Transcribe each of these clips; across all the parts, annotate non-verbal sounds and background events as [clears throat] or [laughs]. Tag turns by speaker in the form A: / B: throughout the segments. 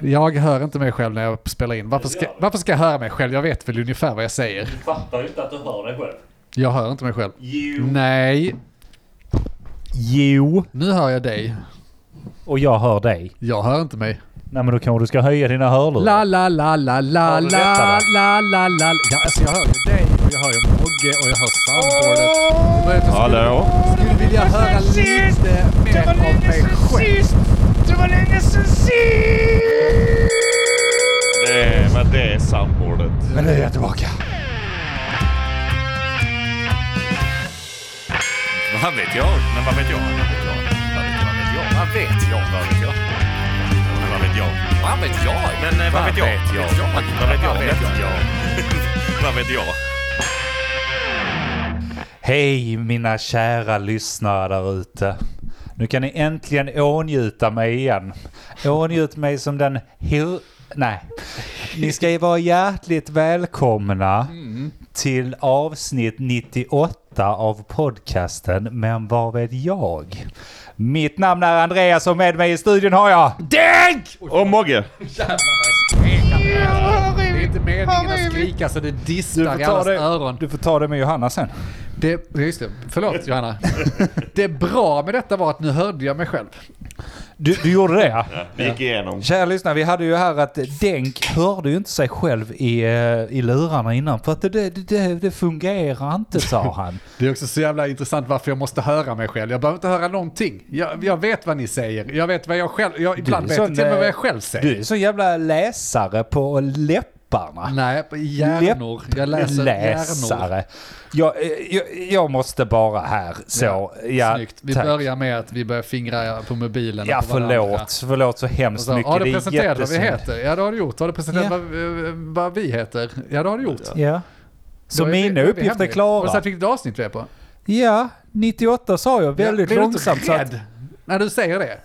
A: Jag hör inte mig själv när jag spelar in. Varför ska, varför ska jag höra mig själv? Jag vet väl ungefär vad jag säger.
B: Du fattar ju inte att du hör dig själv.
A: Jag hör inte mig själv.
B: Jo.
A: Nej,
C: Jo,
A: nu hör jag dig.
C: och jag hör dig.
A: Jag hör inte mig.
C: Nej men då kanske du ska höja dina hörlurar.
A: La, la, la, la, la, la,
C: Har du lättare?
A: la, la, la. Ja, alltså jag hör ju dig och jag hör ju Mogge och jag hör soundboardet. Men jag
D: Hallå?
A: skulle- Skulle vilja höra lite mer av mig själv.
D: Det, men det är soundboardet.
C: Men nu är jag tillbaka.
D: Vad vet jag? Men vad vet jag? Vad vet jag? Vad vet jag? Vad vet jag? Men Vad vet jag? Vad vet jag? Men eh, vad vet jag? Vad vet jag? Vad vet jag? Vad vet jag? [laughs] Vad vet jag?
C: Hej mina kära lyssnare där ute. Nu kan ni äntligen ånjuta mig igen. Ånjut mig som den hur... Nej. Ni ska ju vara hjärtligt välkomna till avsnitt 98 av podcasten Men vad vet jag? Mitt namn är Andreas och med mig i studion har jag...
D: Dänk! Och Mogge!
A: Det är inte meningen att skrika så det distar i allas öron.
C: du får ta det med Johanna sen.
A: Det, just det. Förlåt
C: [laughs]
A: Johanna. Det bra med detta var att nu hörde jag mig själv.
C: Du, du gjorde det? ja?
D: Vi gick igenom.
C: Kära lyssnare, vi hade ju här att Denk hörde ju inte sig själv i, eh, i lurarna innan för att det, det, det, det fungerar inte sa
A: [laughs]
C: han.
A: Det är också så jävla intressant varför jag måste höra mig själv. Jag behöver inte höra någonting. Jag, jag vet vad ni säger. Jag vet vad jag själv... Jag, ibland
C: är
A: vet
C: sån,
A: jag till och med
C: eh,
A: vad jag själv säger.
C: Du är så jävla läsare på läpparna.
A: Nej, på hjärnor. Jag läser hjärnor.
C: läsare. Jag, eh, jag, jag måste bara här så. Ja,
A: Snyggt. Vi
C: tack.
A: börjar med att vi börjar fingra på mobilen.
C: Ja
A: och på varandra.
C: förlåt, förlåt så
A: Och
C: hemskt
A: Så,
C: mycket.
A: har
C: Det
A: du
C: är
A: presenterat vad vi
C: jättesnyggt.
A: heter? Ja, det har du gjort. Har du presenterat
C: Ja.
A: vad, eh, vad vi heter? Ja, det har du gjort.
C: Ja. Så,
A: är vi-
C: mina
A: då är vi
C: uppgifter
A: hemma.
C: är klara.
A: Och sen fick du avsnitt vi är på.
C: Ja, 98 sa jag väldigt
A: Ja, blir du inte
C: långsamt. Så att,
A: rädd När du säger det.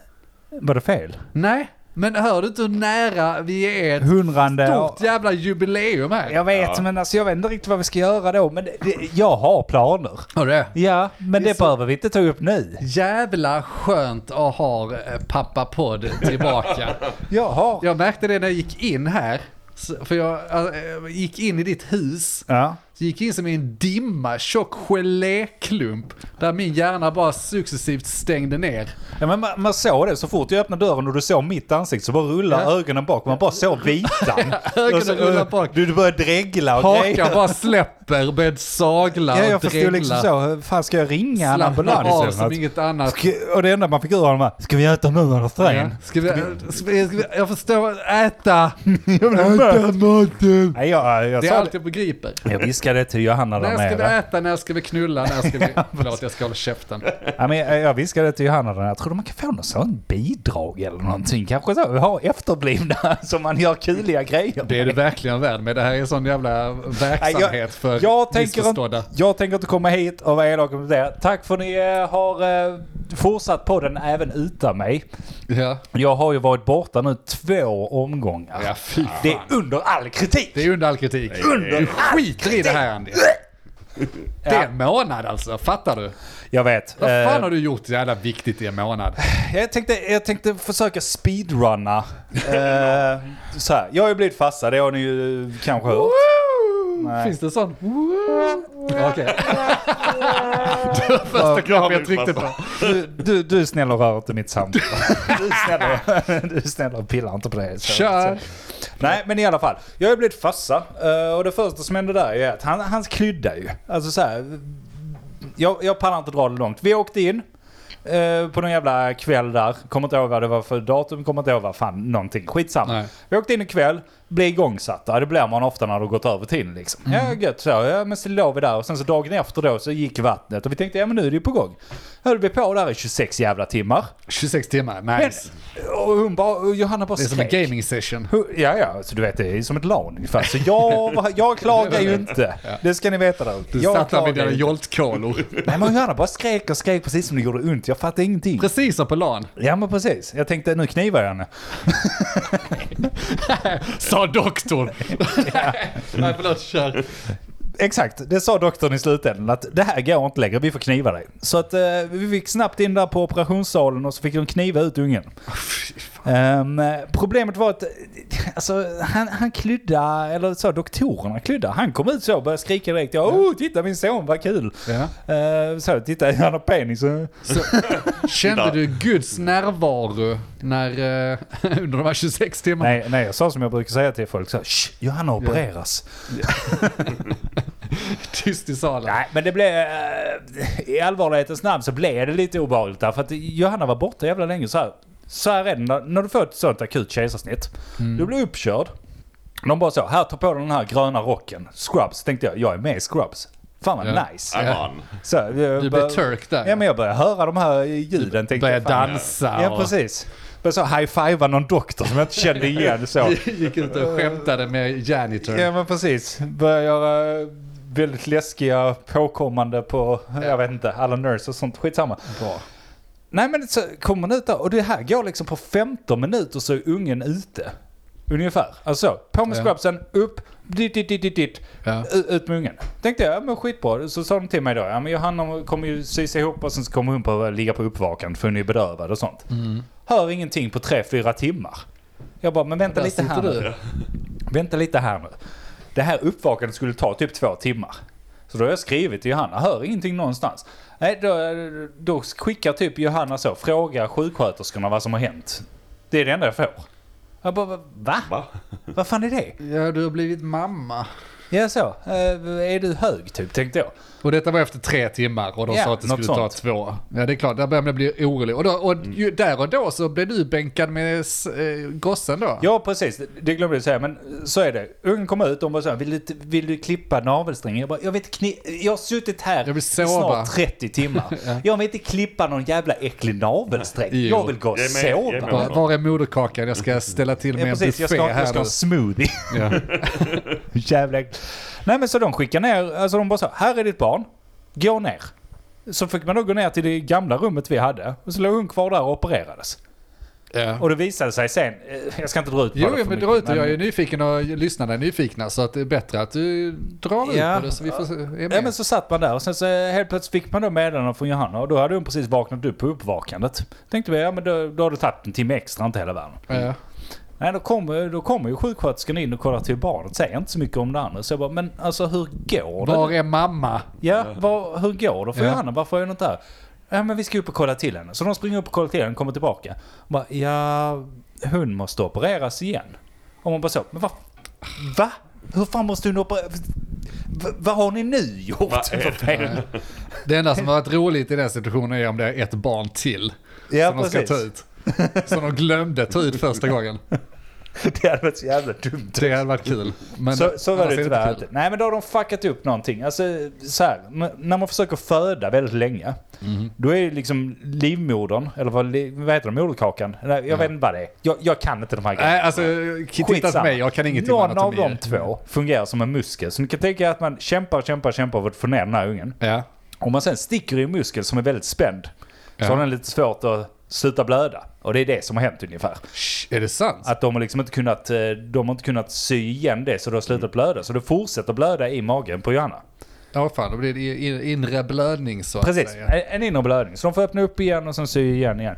C: var det fel?
A: Nej, men hör du inte hur nära vi är ett
C: Hundrande.
A: stort jävla jubileum här?
C: Jag vet,
D: Ja.
C: men alltså, jag vet inte riktigt vad vi ska göra då. Men det, det, jag har planer.
A: Har du det?
C: Ja, men
A: Det
C: det,
A: är så-
C: behöver vi inte ta upp nu.
A: Jävla skönt att ha eh, pappa podd [laughs] tillbaka.
C: Jag har...
A: Jag märkte det när jag gick in här. Så- För jag eh, gick in i ditt hus.
C: Ja.
A: Så gick in som i en dimma, tjock geléklump. Där min hjärna bara successivt stängde ner.
C: Ja, men man, man såg det så fort jag öppnade dörren och du såg mitt ansikte så bara rullade
A: Ja.
C: ögonen bak. Man bara såg
A: [laughs]
C: vitan.
A: Ögonen
C: Och så- eh,
A: rullade bak.
C: Du, du började dregla och
A: Hakan bara släpper, började sagla
C: Ja, jag
A: och
C: förstod
A: dregla.
C: liksom så. hur Fan, ska jag ringa en
A: Slappna
C: ambulans?
A: av
C: eller
A: som
C: något?
A: inget annat.
C: Ska- Och det enda man fick ur honom var, ska vi äta nu eller
A: Ja.
C: strängen?
A: Ska vi, ska vi, ska vi, jag förstår,
C: [laughs]
A: äta!
C: Äta
A: maten!
C: Nej, jag, jag,
A: Det är
C: sa
A: allt
C: det.
A: jag begriper.
C: jag viskade till Johanna där
A: När ska vi
C: nere.
A: äta, när ska vi knulla, när ska
C: [laughs]
A: vi... Förlåt, jag ska hålla käften.
C: Ja, men jag, jag viskade till Johanna den här, tror du man kan få något sånt bidrag eller någonting? Kanske så, ha efterblivna [laughs] som man gör kuliga grejer
A: Det är du verkligen värd med. Det här är en sån jävla
C: Nej,
A: verksamhet för
C: jag tänker,
A: missförstådda.
C: inte, jag tänker inte komma hit och vara elak mot er. Tack för ni eh, har eh, fortsatt podden även utan mig.
A: Ja.
C: Jag har ju varit borta nu två omgångar.
A: ja, fy fan.
C: Det är under all kritik!
A: Det är under all kritik.
D: Under
A: Du skiter i det här Andy. Det är en månad alltså, fattar du?
C: Jag vet.
A: Vad
C: Eh,
A: fan har du gjort jävla viktigt i en månad?
C: Jag tänkte, jag tänkte försöka speedrunna. Eh, så här. Jag har ju blivit farsa, det har ni ju eh, kanske hört. Nej.
A: Finns det en sån? Okej.
C: [laughs]
A: det var första knappen jag tryckte på.
C: Du, du, du är snäll och rör inte mitt samtal. Du är snäll och, [laughs] du är snäll och pillar inte på det. Så-
A: Kör!
C: Nej, men i alla fall. Jag har ju blivit farsa eh, och det första som hände där är att han, han klydda ju. Alltså så här, jag, jag pallar inte dra det långt. Vi åkte in eh, på någon jävla kväll där. Kommer inte ihåg vad det var för datum, kommer inte ihåg vad fan någonting. Skitsamma.
A: Nej.
C: Vi åkte in en kväll, blev igångsatta. Det blir man ofta när det har gått över tiden liksom.
A: Mm.
C: Ja, gött så. Ja, men så låg vi där och sen så dagen efter då så gick vattnet och vi tänkte ja men nu är det ju på gång. Höll vi på där i 26 jävla timmar.
A: 26 timmar,
C: Men,
A: nice.
C: och hon bara, och Johanna bara
A: Det är som en
C: skrek.
A: gaming session.
C: Hu- Ja, ja, så du vet det är som ett LAN ungefär. Så jag, var- jag klagar ju inte. Det ska ni veta där ute.
A: Du
C: Jag
A: satt där med
C: klagar
A: dina
C: inte. [laughs]
A: joltkolor.
C: Nej men Johanna bara skrek och skrek precis som det gjorde ont. Jag fattade ingenting.
A: Precis som på LAN.
C: Ja men precis. Jag tänkte nu knivar jag henne.
A: Sa
C: [laughs]
A: doktorn. Nej förlåt, kör.
C: Exakt, det sa doktorn i slutändan att det här går inte längre, vi
A: [laughs]
C: får kniva dig. Så att eh, vi fick snabbt in där på operationssalen och så fick de kniva ut ungen. Ehm, problemet var att alltså, han, han klydda, eller så, doktorerna klydda. Han kom ut så och började skrika direkt. Ja, oh, titta min son, vad kul!
A: Ja.
C: Eh, så, titta, [laughs] han har penis. eh.
A: Så, kände du Guds närvaro när, eh, [laughs] under de här 26 timmarna?
C: Nej, nej, jag sa som jag brukar säga till folk. Så, Shh, Johanna opereras.
A: Tyst i salen.
C: Nej, men det blev... eh, I allvarlighetens namn så blev det lite obehagligt där. För att Johanna var borta jävla länge. Så här, så här är det när, när du får ett sånt akut kejsarsnitt. Du blir uppkörd. De bara så, här ta på dig den här gröna rocken. Scrubs, tänkte jag. Jag är med i Scrubs. Fan vad
A: Ja.
C: nice.
A: Ja.
D: Aman.
C: Så, eh, jag
A: Du blev
C: bör-
A: turk där.
C: Ja men jag började höra de här eh, ljuden. tänkte
A: Började
C: jag, fan.
A: dansa
C: Ja
A: och-
C: precis. Började så high-fivea någon doktor som jag inte kände igen. [laughs] Så.
A: [laughs] Gick ut och skämtade med janitor.
C: Ja men precis. Börjar göra väldigt läskiga påkommande på, jag vet inte, alla nurses och sånt. Skitsamma.
A: Bra.
C: Nej men så kommer man ut där och det här går liksom på 15 minuter så är ungen ute. Ungefär. Alltså på med
A: Ja.
C: scrubsen, upp, dit, dit, dit, dit, dit
A: Ja.
C: u- ut med ungen. Tänkte jag, ja men skitbra. Så sa de till mig då, ja men Johanna kommer ju sys ihop och sen så kommer hon på ligga på uppvakan för hon är bedövad och sånt.
A: Mm.
C: Hör ingenting på 3-4 timmar. Jag bara, men vänta
A: Där
C: lite här
A: sitter
C: nu.
A: du.
C: Vänta lite här nu. Det här uppvakandet skulle ta typ två timmar. Så då har jag skrivit till Johanna, hör ingenting någonstans. Nej, då, då skickar typ Johanna så, fråga sjuksköterskorna vad som har hänt. Det är det enda jag får. Jag bara, va?
D: Va?
C: Vad fan är det?
A: Ja, du har blivit mamma.
C: Ja så, eh, är du hög typ, tänkte jag.
A: Och detta var efter tre timmar och de
C: Ja,
A: sa att det
C: något
A: skulle ta
C: sånt.
A: två. Ja, det är klart, där började man bli orolig. Och, då, och ju, där och då så blev du bänkad med s- eh, gossen då?
C: Ja precis, Det- det glömde jag säga, men så är det. Ungen kom ut och bara så här, vill du, vill du klippa navelsträngen? Jag bara, jag vet inte kni- jag har suttit här
A: Jag vill
C: i
A: sova.
C: snart 30 timmar.
A: [laughs]
C: Jag vill inte klippa någon jävla äcklig navelsträng.
A: Jo.
C: Jag vill gå och
D: Jag är med, jag är
C: sova.
D: med.
A: Var, var är moderkakan? Jag ska ställa till med
C: Mm. Ja,
A: en
C: precis,
A: buffé
C: jag ska, jag
A: här
C: ska ha
A: nu.
C: en smoothie. [laughs]
A: Ja.
C: Jävla äckligt. Nej men så de skickar ner, alltså de bara så, här är ditt barn, gå ner. Så fick man då gå ner till det gamla rummet vi hade och så låg hon kvar där och opererades.
A: Ja.
C: Och det visade sig sen, eh, jag ska inte dra ut på
A: Jo,
C: det
A: jo, men
C: för mycket,
A: dra ut och jag är nyfiken och lyssnarna är nyfikna så att det är bättre att du drar
C: Ja.
A: ut på det så vi får se. Är
C: Ja
A: med.
C: men så satt man där och sen så eh, helt plötsligt fick man då meddelanden från Johanna och då hade hon precis vaknat upp på uppvakandet. Tänkte vi, ja men då, då har det tagit en timme extra, inte hela världen.
A: Ja.
C: Nej då kommer då kommer ju sjuksköterskan in och kollar till barnet, säger inte så mycket om det andra. Så jag bara, men alltså hur går det?
A: Var är mamma?
C: Ja, vad, hur går det för
A: Ja.
C: Johanna? Varför är hon inte här? Ja, men vi ska upp och kolla till henne. Så de springer upp och kollar till henne och kommer tillbaka. Och bara, ja, hon måste opereras igen. Och man bara så, men vad? Va? Hur fan måste hon opereras? Vad har ni nu gjort?
D: Vad är det?
C: för fel?
A: Det enda som har varit roligt i den situationen är om det är ett barn till
C: Ja,
A: som de ska ta
C: precis.
A: ut. Som de glömde ta ut första gången.
C: [laughs] Det hade varit så jävla dumt.
A: Det hade varit kul. Men
C: Så, så var
A: annars
C: det
A: är kul.
C: tyvärr inte. Nej men då har de fuckat upp någonting. Alltså så här, n- när man försöker föda väldigt länge.
A: Mhm.
C: Då är det liksom livmodern, eller vad, li- vad heter det, moderkakan? Nej, Jag vet inte vad det är. Jag, jag kan inte de här
A: Nej, alltså titta på mig, jag kan ingenting om
C: Någon av
A: anatomi.
C: de två fungerar som en muskel. Så ni kan tänka er att man kämpar, kämpar, kämpar för att få ner den här ungen.
A: Ja.
C: Om man sen sticker i en muskel som är väldigt spänd.
A: Ja.
C: Så har den lite svårt att sluta blöda. Och det är det som har hänt ungefär.
A: Shh, Är det sant?
C: Att de har liksom inte kunnat, eh, de har inte kunnat sy igen det så det har
A: Mm.
C: slutat blöda. Så det fortsätter blöda i magen på Johanna.
A: Ja, fan, då blir det in- inre blödning så att
C: Precis,
A: säga.
C: en- en inre blödning. Så de får öppna upp igen och sen sy igen igen.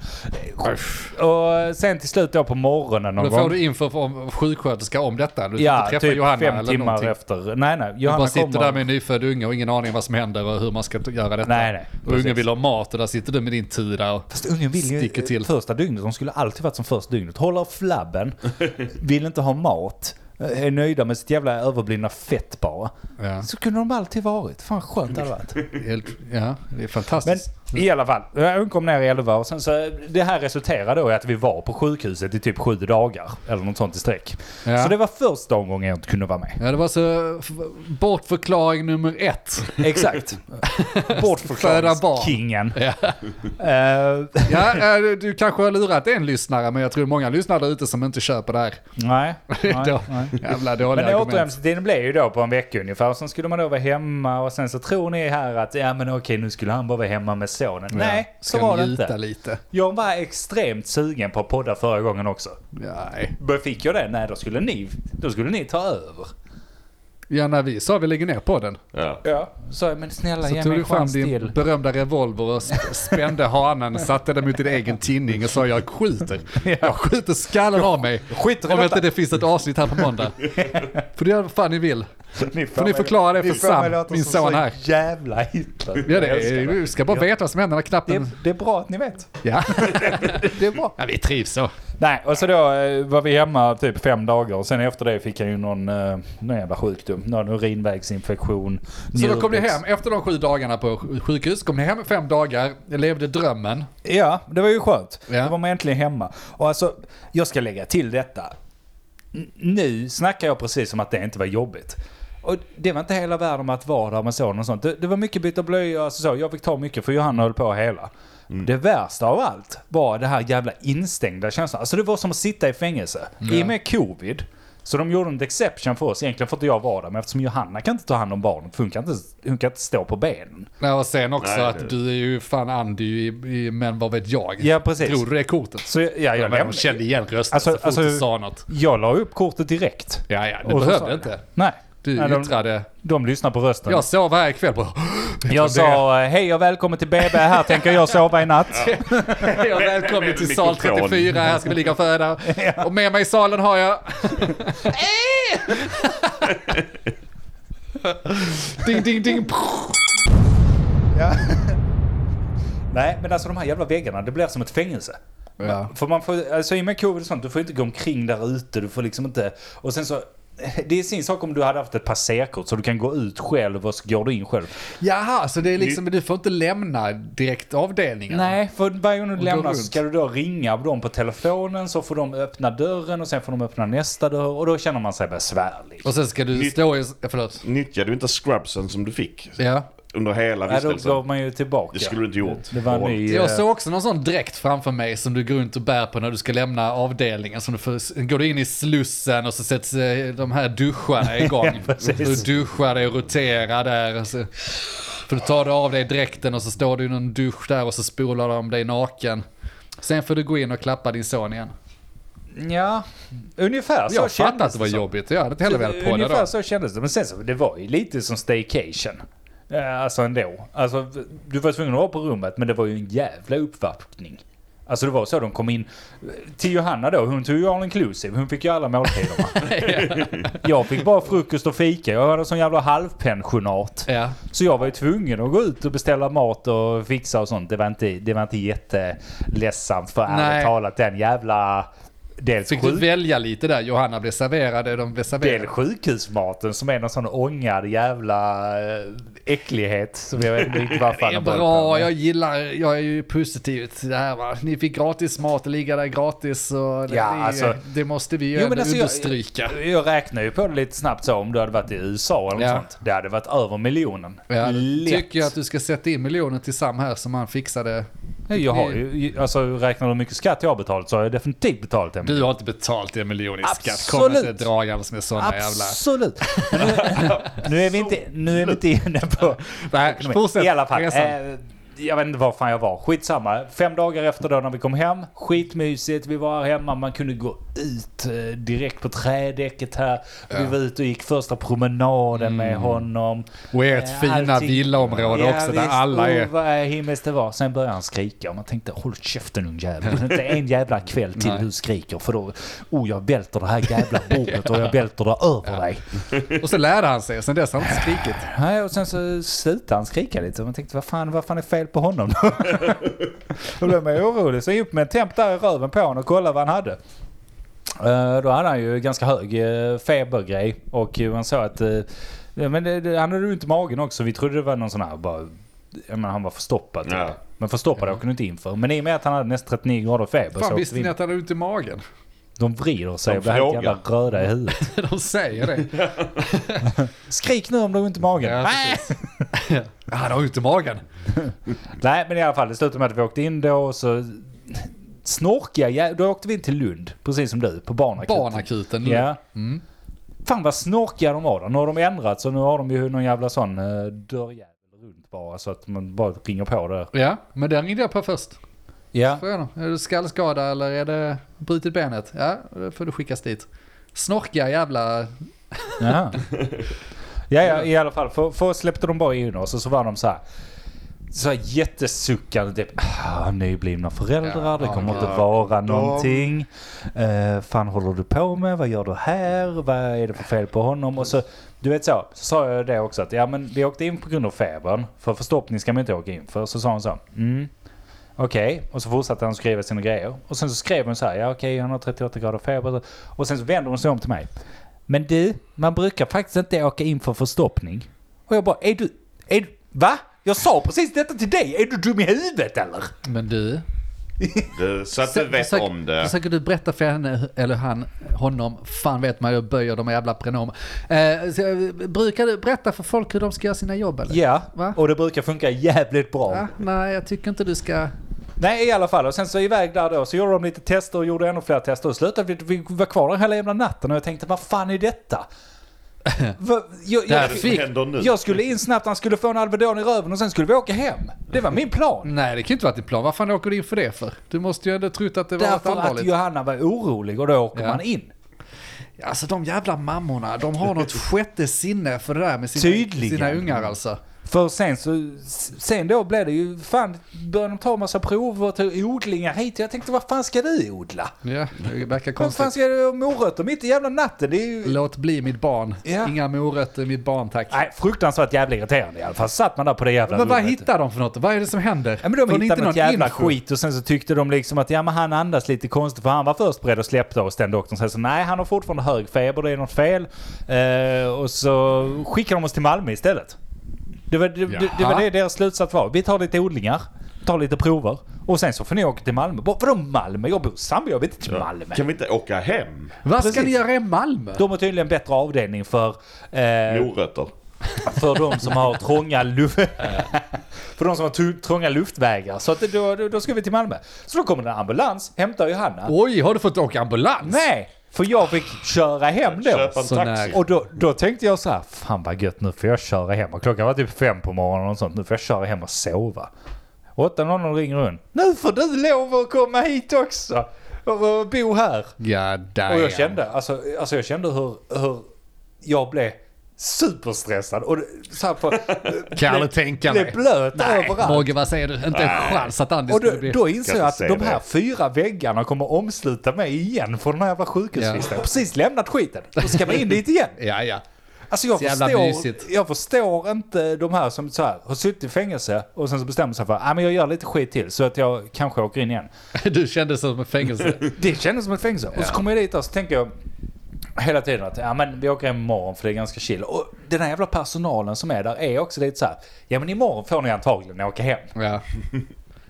C: Och sen till slut då på morgonen någon
A: Då får
C: gång.
A: du info från sjuksköterska om detta. Du får
C: Ja,
A: inte träffa
C: typ
A: Johanna
C: fem
A: eller
C: timmar
A: någonting.
C: efter. Nej, nej.
A: Du
C: Johanna
A: bara sitter
C: kommer.
A: där med en nyfödd unge och ingen aning om vad som händer och hur man ska t- göra detta.
C: Nej, nej,
A: Och ungen
C: precis.
A: vill ha mat och där sitter du med din tuda och
C: Fast ungen vill ju
A: sticker till.
C: första dygnet, de skulle alltid varit som första dygnet. Håller flabben, vill inte ha mat, är nöjda med sitt jävla överblivna fett bara.
A: Ja.
C: Så kunde de alltid varit. Fan skönt det hade varit.
A: Helt, ja, det är
C: Men
A: fantastiskt.
C: i alla fall, hon kom ner i 11 och sen så, det här resulterade då i att vi var på sjukhuset i typ sju dagar. Eller något sånt i sträck.
A: Ja.
C: Så det var första omgången jag inte kunde
A: [laughs]
C: vara med.
A: Ja, det var så f- bortförklaring nummer ett.
C: Exakt.
A: Föda barn.
C: Bortförklaringskingen.
A: Ja.
C: Eh,
A: [laughs] Ja, eh, du kanske har lurat en lyssnare, men jag tror många lyssnare där ute som inte köper det här.
C: nej.
A: Det
C: nej,
A: är [laughs] då,
C: nej.
A: jävla dåliga
C: Men
A: argument.
C: återhämtningstiden blev ju då på en vecka ungefär. Och sen skulle man då vara hemma och sen så tror ni här att ja men okej nu skulle han bara vara hemma med sonen. Nej, så
A: Ska
C: var det
A: njuta
C: inte.
A: lite.
C: Jag var extremt sugen på att podda förra gången också.
A: Nej.
C: Bör- Fick jag det? Nej, då skulle ni, då skulle ni ta över.
A: Ja, när vi sa vi lägger ner podden.
D: Ja.
C: Ja. Så, men snälla
A: Så
C: ge
A: tog
C: mig
A: du
C: en
A: fram
C: chans
A: din
C: till.
A: berömda revolver och sp- spände hanen, satte den mot din egen tinning och sa jag
C: [laughs]
A: skjuter. Jag skjuter skallen av mig.
C: skiter i
A: Om
C: detta.
A: inte det finns ett avsnitt här på
C: [laughs]
A: måndag. Får du göra vad fan ni vill.
C: Ni
A: Får ni förklara det för Sam, min son här.
C: jävla Hitler.
A: Ja, det
C: Jag älskar
A: är, vi ska bara veta vad som händer när
C: det,
A: knappen...
C: är, det är bra att ni vet.
A: Ja.
C: [laughs] Det är bra.
A: ja, vi trivs så.
C: Nej, och så då eh, var vi hemma typ fem dagar och sen efter det fick jag ju någon, eh, någon jävla sjukdom. Någon urinvägsinfektion.
A: Så då kom ni
C: njurvägs-
A: hem efter de sju dagarna på sj- sjukhus, kom ni hem i fem dagar, levde drömmen.
C: Ja, det var ju skönt.
A: Ja.
C: Då var man äntligen hemma. Och alltså, jag ska lägga till detta. N- Nu snackar jag precis som att det inte var jobbigt. Och det var inte hela världen med att vara där med sonen och sånt. Det, det var mycket byta blöjor, alltså så. Jag fick ta mycket för Johanna höll på hela. Det värsta av allt var det här jävla instängda känslan. Alltså det var som att sitta i fängelse. I och med covid. Så de gjorde en exception för oss. Egentligen får inte jag vara där, men eftersom Johanna kan inte ta hand om barnet, för hon kan inte, hon kan inte stå på benen.
A: Ja, och sen också
D: Nej, det-
A: att du är ju fan Andy i, i Men vad vet jag.
C: Ja, precis.
A: Tror du det kortet?
C: Så jag, ja, jag
A: Men de
C: lämnade-
A: kände igen rösten
C: Alltså-
A: så fort
C: alltså-
A: du sa något.
C: Jag la upp kortet direkt.
A: Ja, ja, du
C: Och så sa
A: behövde
C: jag
A: inte.
C: Nej.
A: Du
C: Nej, de,
A: yttrade,
C: de lyssnar på rösten.
A: jag sov här ikväll på... [laughs]
C: jag sa eh, hej och välkommen till BB, här tänker jag sova i natt.
A: Hej och välkommen
D: med
A: till sal
D: mikrofon.
A: 34, här ska vi ligga och föda. Och med mig i salen har jag...
C: [laughs]
A: ding, ding, ding.
C: Nej, men alltså de här jävla väggarna, det blir som ett fängelse.
A: Ja.
C: För man får, alltså i och med covid och sånt, du får inte gå omkring där ute, du får liksom inte... Och sen så, det är sin sak om du hade haft ett passerkort så du kan gå ut själv och så går du in själv.
A: Jaha, så det är liksom, du får inte lämna direkt avdelningen?
C: Nej, för varje gång du lämnar
A: runt.
C: så ska du då ringa dem på telefonen så får de öppna dörren och sen får de öppna nästa dörr och då känner man sig besvärlig.
A: Och sen ska du stå i... ja, Förlåt.
D: Nyttjade du inte scrubsen som du fick
A: Ja.
D: under hela
C: Nej, då
D: vistelsen?
C: gav man ju tillbaka.
D: Det skulle du inte gjort.
C: Det var en ny...
A: Jag
C: eh,
A: såg också någon sån dräkt framför mig som du går runt och bär på när du ska lämna avdelningen. Som du får, går du in i slussen och så sätts eh, de här
C: [laughs]
A: duscharna igång.
C: Ja, precis.
A: du duschar dig och roterar där. och Så, för du tar du av dig dräkten och så står du i någon dusch där och så spolar de dig naken. Sen får du gå in och klappa din son igen.
C: Ja, ungefär så
A: jag
C: kändes
A: fattar att det var
C: som.
A: jobbigt. Jag hade inte heller velat på det
C: Ungefär
A: då.
C: så kändes det. Men sen så, det var ju lite som staycation. Eh, Alltså ändå. Alltså, du var tvungen att vara på rummet, men det var ju en jävla uppvaktning. Alltså det var så de kom in. Till Johanna då, hon tog ju all inclusive. Hon fick ju alla måltiderna. Jag fick bara frukost och fika. Jag hade sån jävla halvpensionat.
A: [laughs] Ja.
C: Så jag var ju tvungen att gå ut och beställa mat och fixa och sånt. Det var inte, det var inte jätteledsamt för
A: Nej.
C: ärligt talat den jävla... Dels
A: Fick
C: sjuk-
A: du välja lite där? Johanna blev serverad det de blev
C: Del
A: serverade.
C: sjukhusmaten som är någon sån ångad jävla eh, äcklighet som jag inte riktigt vad fan
A: Det är
C: den beror
A: bra,
C: på.
A: jag gillar, jag är ju positiv till det här va. Ni fick gratis mat och ligga där gratis och det,
C: Ja,
A: det,
C: alltså-
A: det måste vi ju
C: Jo, men
A: ändå
C: alltså, jag-
A: understryka.
C: Jag, jag räknar ju på det lite snabbt så om du hade varit i USA eller något
A: Ja.
C: sånt. Det hade varit över miljonen.
A: Jag,
C: Lätt.
A: tycker jag att du ska sätta in miljoner till Sam här som han fixade.
C: Jag har ju, alltså räknar du hur mycket skatt jag har betalat så har jag definitivt betalat en
A: Du har inte betalt en miljon i skatt. Kom
C: Absolut.
A: inte dragandes med sådana jävla...
C: Absolut. Men
A: [laughs]
C: nu, nu, är vi inte, nu är vi inte inne på...
A: Nej, [laughs] fortsätt
C: I alla fall.
A: resan.
C: Eh, jag vet inte var fan jag var. Skitsamma. Fem dagar efter då när vi kom hem. Skitmysigt. Vi var här hemma. Man kunde gå ut eh, direkt på trädäcket här. Vi var ute och gick första promenaden med honom.
A: Och ert fina villaområde också där alla Mm. är...
C: Oh, vad himmelskt det var. Sen började han skrika och man tänkte håll käften ungjävel. Inte en jävla kväll
A: [laughs]
C: till
A: Nej.
C: du skriker för då, oh jag välter det här jävla bordet och jag välter det över dig.
A: Och så lärde han sig, och sen dess har han inte skrikit.
C: Nej, och sen så slutade han skrika lite. Och Man tänkte, vad fan, vad fan är fel på honom
A: [laughs]
C: då? Då blev man ju orolig. Så jag upp med en temp där i röven på honom och kollade vad han hade. Eh, Då hade han ju ganska hög eh, febergrej och eh, man såg att eh, ja, men det, det, han hade ont i magen också. Vi trodde det var någon sån här bara... Jag menar, han var förstoppad. Typ.
D: Ja.
C: Men förstoppad åker du inte in för. Men i och med att han hade nästan 39 grader feber så
A: Fan
C: åkte
A: visste
C: vi
A: ni
C: in.
A: att han hade ont i magen?
C: De vrider sig
D: De
C: och blir helt
D: frågar.
C: jävla röda i huvudet.
A: [laughs] De säger det.
C: Skrik nu om du har ont i magen.
A: [laughs] Ja,
C: Nej!
A: precis. Ja, [laughs] Han har ont i magen.
C: Nej, men i alla fall, det slutade med att vi åkte in då och så snorkiga, jä- då åkte vi in till Lund, precis som du, på barnakuten.
A: Barnakuten.
C: Ja.
A: Mm.
C: Fan vad snorkiga de var där. Nu har de ändrat så nu har de ju någon jävla sån eh, dörrjävel runt bara så att man bara ringer på där.
A: Ja, men den ringde jag på först.
C: Ja.
A: Frågade honom, är du skallskada eller är det brutit benet? Ja, då får du skickas dit. Snorkiga jävla...
C: Jaha. Ja, ja i alla fall. För, för släppte de bara in oss och så var de så här. Så här jättesuckande typ. Ah, nyblivna föräldrar, det
A: Ja,
C: kommer
A: ja,
C: inte vara någonting. Eh, fan håller du på med? Vad gör du här? Vad är det för fel på honom? Och så, du vet så, så sa jag det också att ja men vi åkte in på grund av febern. För förstoppning ska man inte åka in för. Så sa hon så. Mm. Okej, och så fortsatte han skriva sina grejer. Och sen så skrev hon så här, ja okej han har 38 grader feber. Och sen så vände hon sig om till mig. Men du, man brukar faktiskt inte åka in för förstoppning. Och jag bara, är du, är du, va? Jag sa precis detta till dig, är du dum i huvudet eller?
A: Men du.
D: Du, så att du vet
A: försöker,
D: om det.
A: Försöker du berätta för henne, eller han, honom, fan vet man, jag böjer de jävla pronomen. Eh, så, eh, brukar du berätta för folk hur de ska göra sina jobb eller?
C: Ja,
A: Va?
C: och det brukar funka jävligt bra.
A: Ja, nej, jag tycker inte du ska...
C: Nej, i alla fall. Och sen så iväg där då, så gjorde de lite tester och gjorde ännu fler tester. Och slutade vi, vi var kvar där hela jävla natten och jag tänkte, vad fan
A: [laughs]
C: är detta? Va,
A: Där
C: jag,
D: Vad är
C: jag,
D: det
A: fick-
D: som händer nu?
C: jag skulle in snabbt, han skulle få en Alvedon i röven och sen skulle vi åka hem. Det var min plan.
A: Nej, det kan ju inte vara din plan. Vad fan åker du in för det för? Du måste ju ändå trott att det var något
C: Därför att
A: allvarligt.
C: Johanna var orolig och då åker
A: Ja.
C: man in.
A: Alltså de jävla mammorna, de har [laughs] något sjätte sinne för det där med sina,
C: Tydligen.
A: sina ungar alltså.
C: För sen så, sen då blev det ju, fan började de ta massa prover och ta odlingar hit. Jag tänkte, vad fan ska du odla?
A: Ja, det verkar
C: Vad fan
A: konstigt.
C: ska du ha morötter mitt i jävla natten? Det är ju...
A: Låt bli mitt barn.
C: Ja.
A: Inga morötter mitt barn tack.
C: Nej, fruktansvärt jävla irriterande i alla fall. Satt man där på det jävla
A: Men vad
C: rummet.
A: hittar de för något? Vad är det som händer?
C: Ja, men de
A: Får ni
C: hittade något jävla
A: info?
C: skit och sen så tyckte de liksom att ja men han andas lite konstigt för han var först beredd att släppa oss den doktorn. Sen så nej han har fortfarande hög feber, det är något fel. Eh, och så skickade de oss till Malmö istället. Det var det, det, det var
A: Jaha.
C: det deras slutsats var. Vi tar lite odlingar, tar lite prover och sen så får ni åka till Malmö. Bara, Vadå Malmö? Jag bor i Zambia, jag vill inte till Malmö.
D: Kan vi inte åka hem?
A: Vad ska
C: Precis.
A: ni göra i Malmö?
C: De har tydligen bättre avdelning för, eh,
D: Morötter.
C: för de som har trånga luft... [laughs] för de som har tu- trånga luftvägar. Så att då, då, då ska vi till Malmö. Så då kommer det en ambulans, hämtar Johanna.
A: Oj, har du fått åka ambulans?
C: Nej, för jag fick köra hem då.
D: Köpa en
A: Så
D: taxi.
A: nära.
C: Och då, då tänkte jag så här, fan vad gött nu får jag köra hem. Och klockan var typ fem på morgonen och sånt. Nu får jag köra hem och sova. 8.00 ringer hon. Nu får du lov att komma hit också. Och, och bo här.
A: Ja, där
C: Och
A: är
C: jag
A: han.
C: kände, alltså, alltså jag kände hur, hur jag blev superstressad. Och det- så här
A: [laughs]
C: på,
A: Kan
C: blev-
A: aldrig tänka mig.
C: Blev blöt överallt.
A: Morgan, vad säger du? Inte en chans att Andy
C: Och då,
A: skulle bli...
C: då inser
D: Kan
C: jag att
D: inte
C: de
D: säga
C: här
D: det.
C: fyra väggarna kommer omsluta mig igen från den här jävla sjukhusvistelsen.
A: Ja.
C: Precis lämnat skiten. Då ska man in dit igen.
A: Ja, ja. [laughs]
C: Alltså jag
A: Så jävla
C: förstår,
A: mysigt.
C: jag förstår inte de här som så här, har suttit i fängelse och sen så bestämmer sig för att ah, men jag gör lite skit till så att jag kanske åker in igen.
A: Du kände som en fängelse.
C: Det kändes som ett fängelse. Och så
A: Ja.
C: kommer jag dit och så tänker jag hela tiden att ja, men vi åker hem imorgon för det är ganska chill. Och den här jävla personalen som är där är också lite så här, ja men imorgon får ni antagligen åka hem.
A: Ja.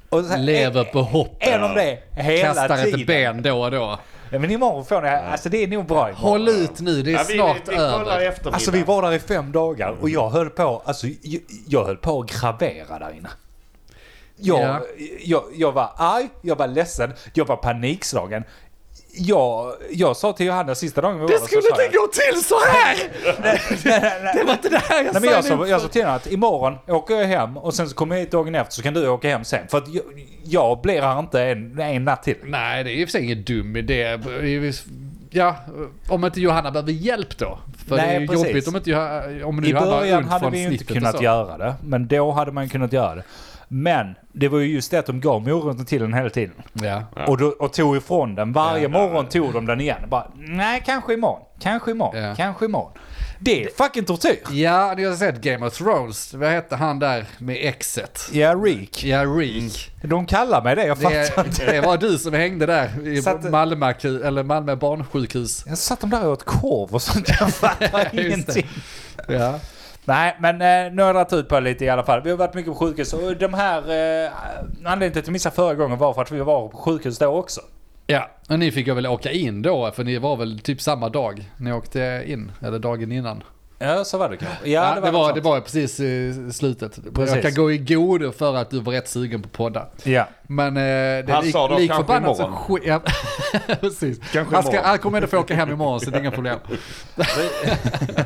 C: Och så här, eh,
A: Lever på hopp.
C: Är de det hela
A: Kastar
C: tiden?
A: ett ben då och då.
C: Ja, men imorgon får ni, alltså det är nog bra imorgon.
A: Håll ut nu, det är
D: Ja, vi,
A: snart
D: vi, vi kollar i
A: över.
D: eftermiddag.
C: Alltså vi var där i fem dagar och jag höll på, alltså jag, jag höll på att gravera där inne. Jag,
A: Ja.
C: jag, jag var arg, jag var ledsen, jag var panikslagen. Jag, jag sa till Johanna sista dagen vi var där, så sa jag-
A: gå till så här!
C: Nej, nej, nej.
A: Det var inte det här
C: Nej, men jag,
A: nu.
C: sa, jag sa till henne att imorgon åker jag hem och sen så kommer jag hit dagen efter så kan du åka hem sen. För att jag, jag blir här inte en, en natt till.
A: Nej, det är i och för sig ingen dum idé. Ja, om inte Johanna behöver hjälp då. För
C: Nej,
A: det är ju
C: precis.
A: jobbigt om inte Johanna... Om nu
C: I
A: Johanna har
C: början
A: ont
C: hade
A: från
C: vi ju inte
A: snittet och
C: kunnat
A: så.
C: göra det, men då hade man kunnat göra det. Men det var ju just det att de gav moroten till den hela tiden.
A: Ja.
C: Och, då, och tog ifrån den. Varje
D: Ja, ja,
C: morgon tog de den igen. Bara, nej, kanske imorgon. Kanske imorgon.
A: Ja.
C: Kanske imorgon. Det är fucking tortyr.
A: Ja, ni har sett Game of Thrones. Vad hette han där med exet?
C: Ja, Reek.
A: Ja, Reek.
C: De kallar mig det, jag
A: Det,
C: Mm. fattar inte.
A: det var du som hängde där i
C: Satt-
A: Malmö, eller Malmö barnsjukhus.
C: Jag satt de där och åt korv
A: [laughs]
C: och sånt. Jag fattar
A: det.
C: ingenting.
A: Ja.
C: Nej, men eh, nu har jag dragit ut på det lite i alla fall. Vi har varit mycket på sjukhus och de här... Eh, anledningen till att jag missade förra gången var för att vi var på sjukhus då också.
A: ja, och ni fick ju väl åka in då, för ni var väl typ samma dag ni åkte in, eller dagen innan.
C: Ja, så var det kanske.
A: Ja, det, var,
C: något
A: det var precis i slutet.
C: Precis.
A: Jag kan gå i godo för att du var rätt sugen på podda. [laughs]
C: sånt. Ja.
A: Men eh, det är
D: Han
A: lik,
D: sa då
A: lik
D: kanske
A: förbannat så
D: imorgon.
A: sk- ja, [laughs] precis.
D: Kanske
A: Han, ska,
D: imorgon.
A: han kommer ändå få åka hem imorgon så det är inga problem.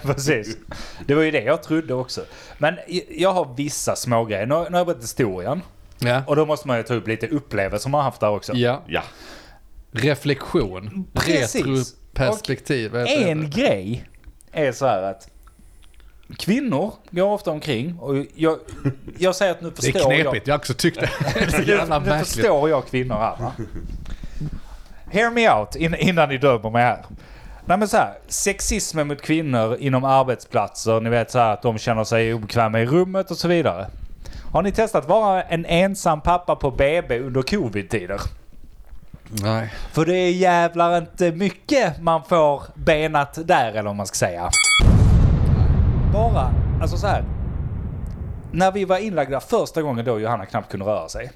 C: Precis. Det var ju det jag trodde också. Men i- jag har vissa små grejer. Nu har nu har jag berättat historien.
A: Ja.
C: Och då måste man ju ta upp lite upplevelser man har haft där också.
A: ja.
D: Ja.
A: reflektion,
C: Precis.
A: retroperspektiv. vad heter det?
C: En grej är så här att Kvinnor går ofta omkring och jag, jag säger att nu
A: Det är
C: förstår jag.
A: knepigt, jag har också
D: [laughs]
A: tyckt det. Det är så jävla
C: Nu
A: märkligt.
C: förstår jag kvinnor här va? Hear me out in, innan ni dömer mig här. Nej men så här, sexismen mot kvinnor inom arbetsplatser, ni vet så här att de känner sig obekväma i rummet och så vidare. Har ni testat vara en ensam pappa på BB under covid-tider?
A: Nej.
C: För det är jävlar inte mycket man får benat där eller vad man ska säga. Bara, alltså så här. När vi var inlagda första gången då Johanna knappt kunde röra sig.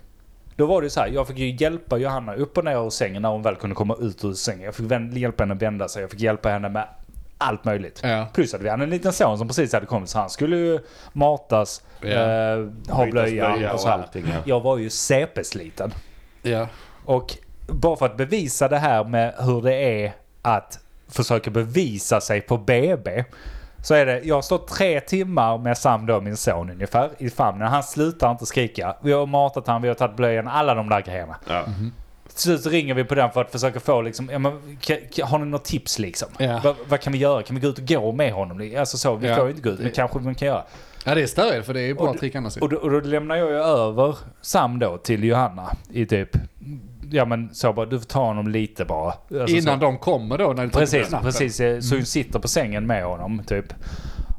C: Då var det ju så här, jag fick ju hjälpa Johanna upp och ner ur sängen när hon väl kunde komma ut ur sängen. Jag fick vän- hjälpa henne att vända sig, jag fick hjälpa henne med allt möjligt.
A: Ja.
C: Plus att vi hade en liten son som precis hade kommit så han skulle ju matas,
A: Ja.
C: eh, ha
D: Bytas
C: blöja och så här.
D: allting, ja.
C: Jag var ju CP-sliten.
A: Ja.
C: Och bara för att bevisa det här med hur det är att försöka bevisa sig på BB. Så är det, jag står tre timmar med Sam då, min son ungefär, i famnen. Han slutar inte skrika. Vi har matat han, vi har tagit blöjan, alla de där grejerna.
D: Ja.
C: Mhm. Till slut så ringer vi på den för att försöka få liksom, ja, men, ka- ka- har ni något tips liksom?
A: Ja.
C: Vad- vad kan vi göra? Kan vi gå ut och gå med honom? Alltså så, vi
A: Ja.
C: får ju inte gå ut, men kanske man kan göra.
A: ja, det är störigt för det är ju bra
C: Och-
A: trick annars ju.
C: Och då, och då lämnar jag ju över Sam då till Johanna i typ, ja men så bara, du får ta honom lite bara. Alltså
A: Innan
C: så,
A: de kommer då när du trycker på
C: Precis,
A: knappen.
C: precis. eh, Så hon sitter på sängen med honom typ.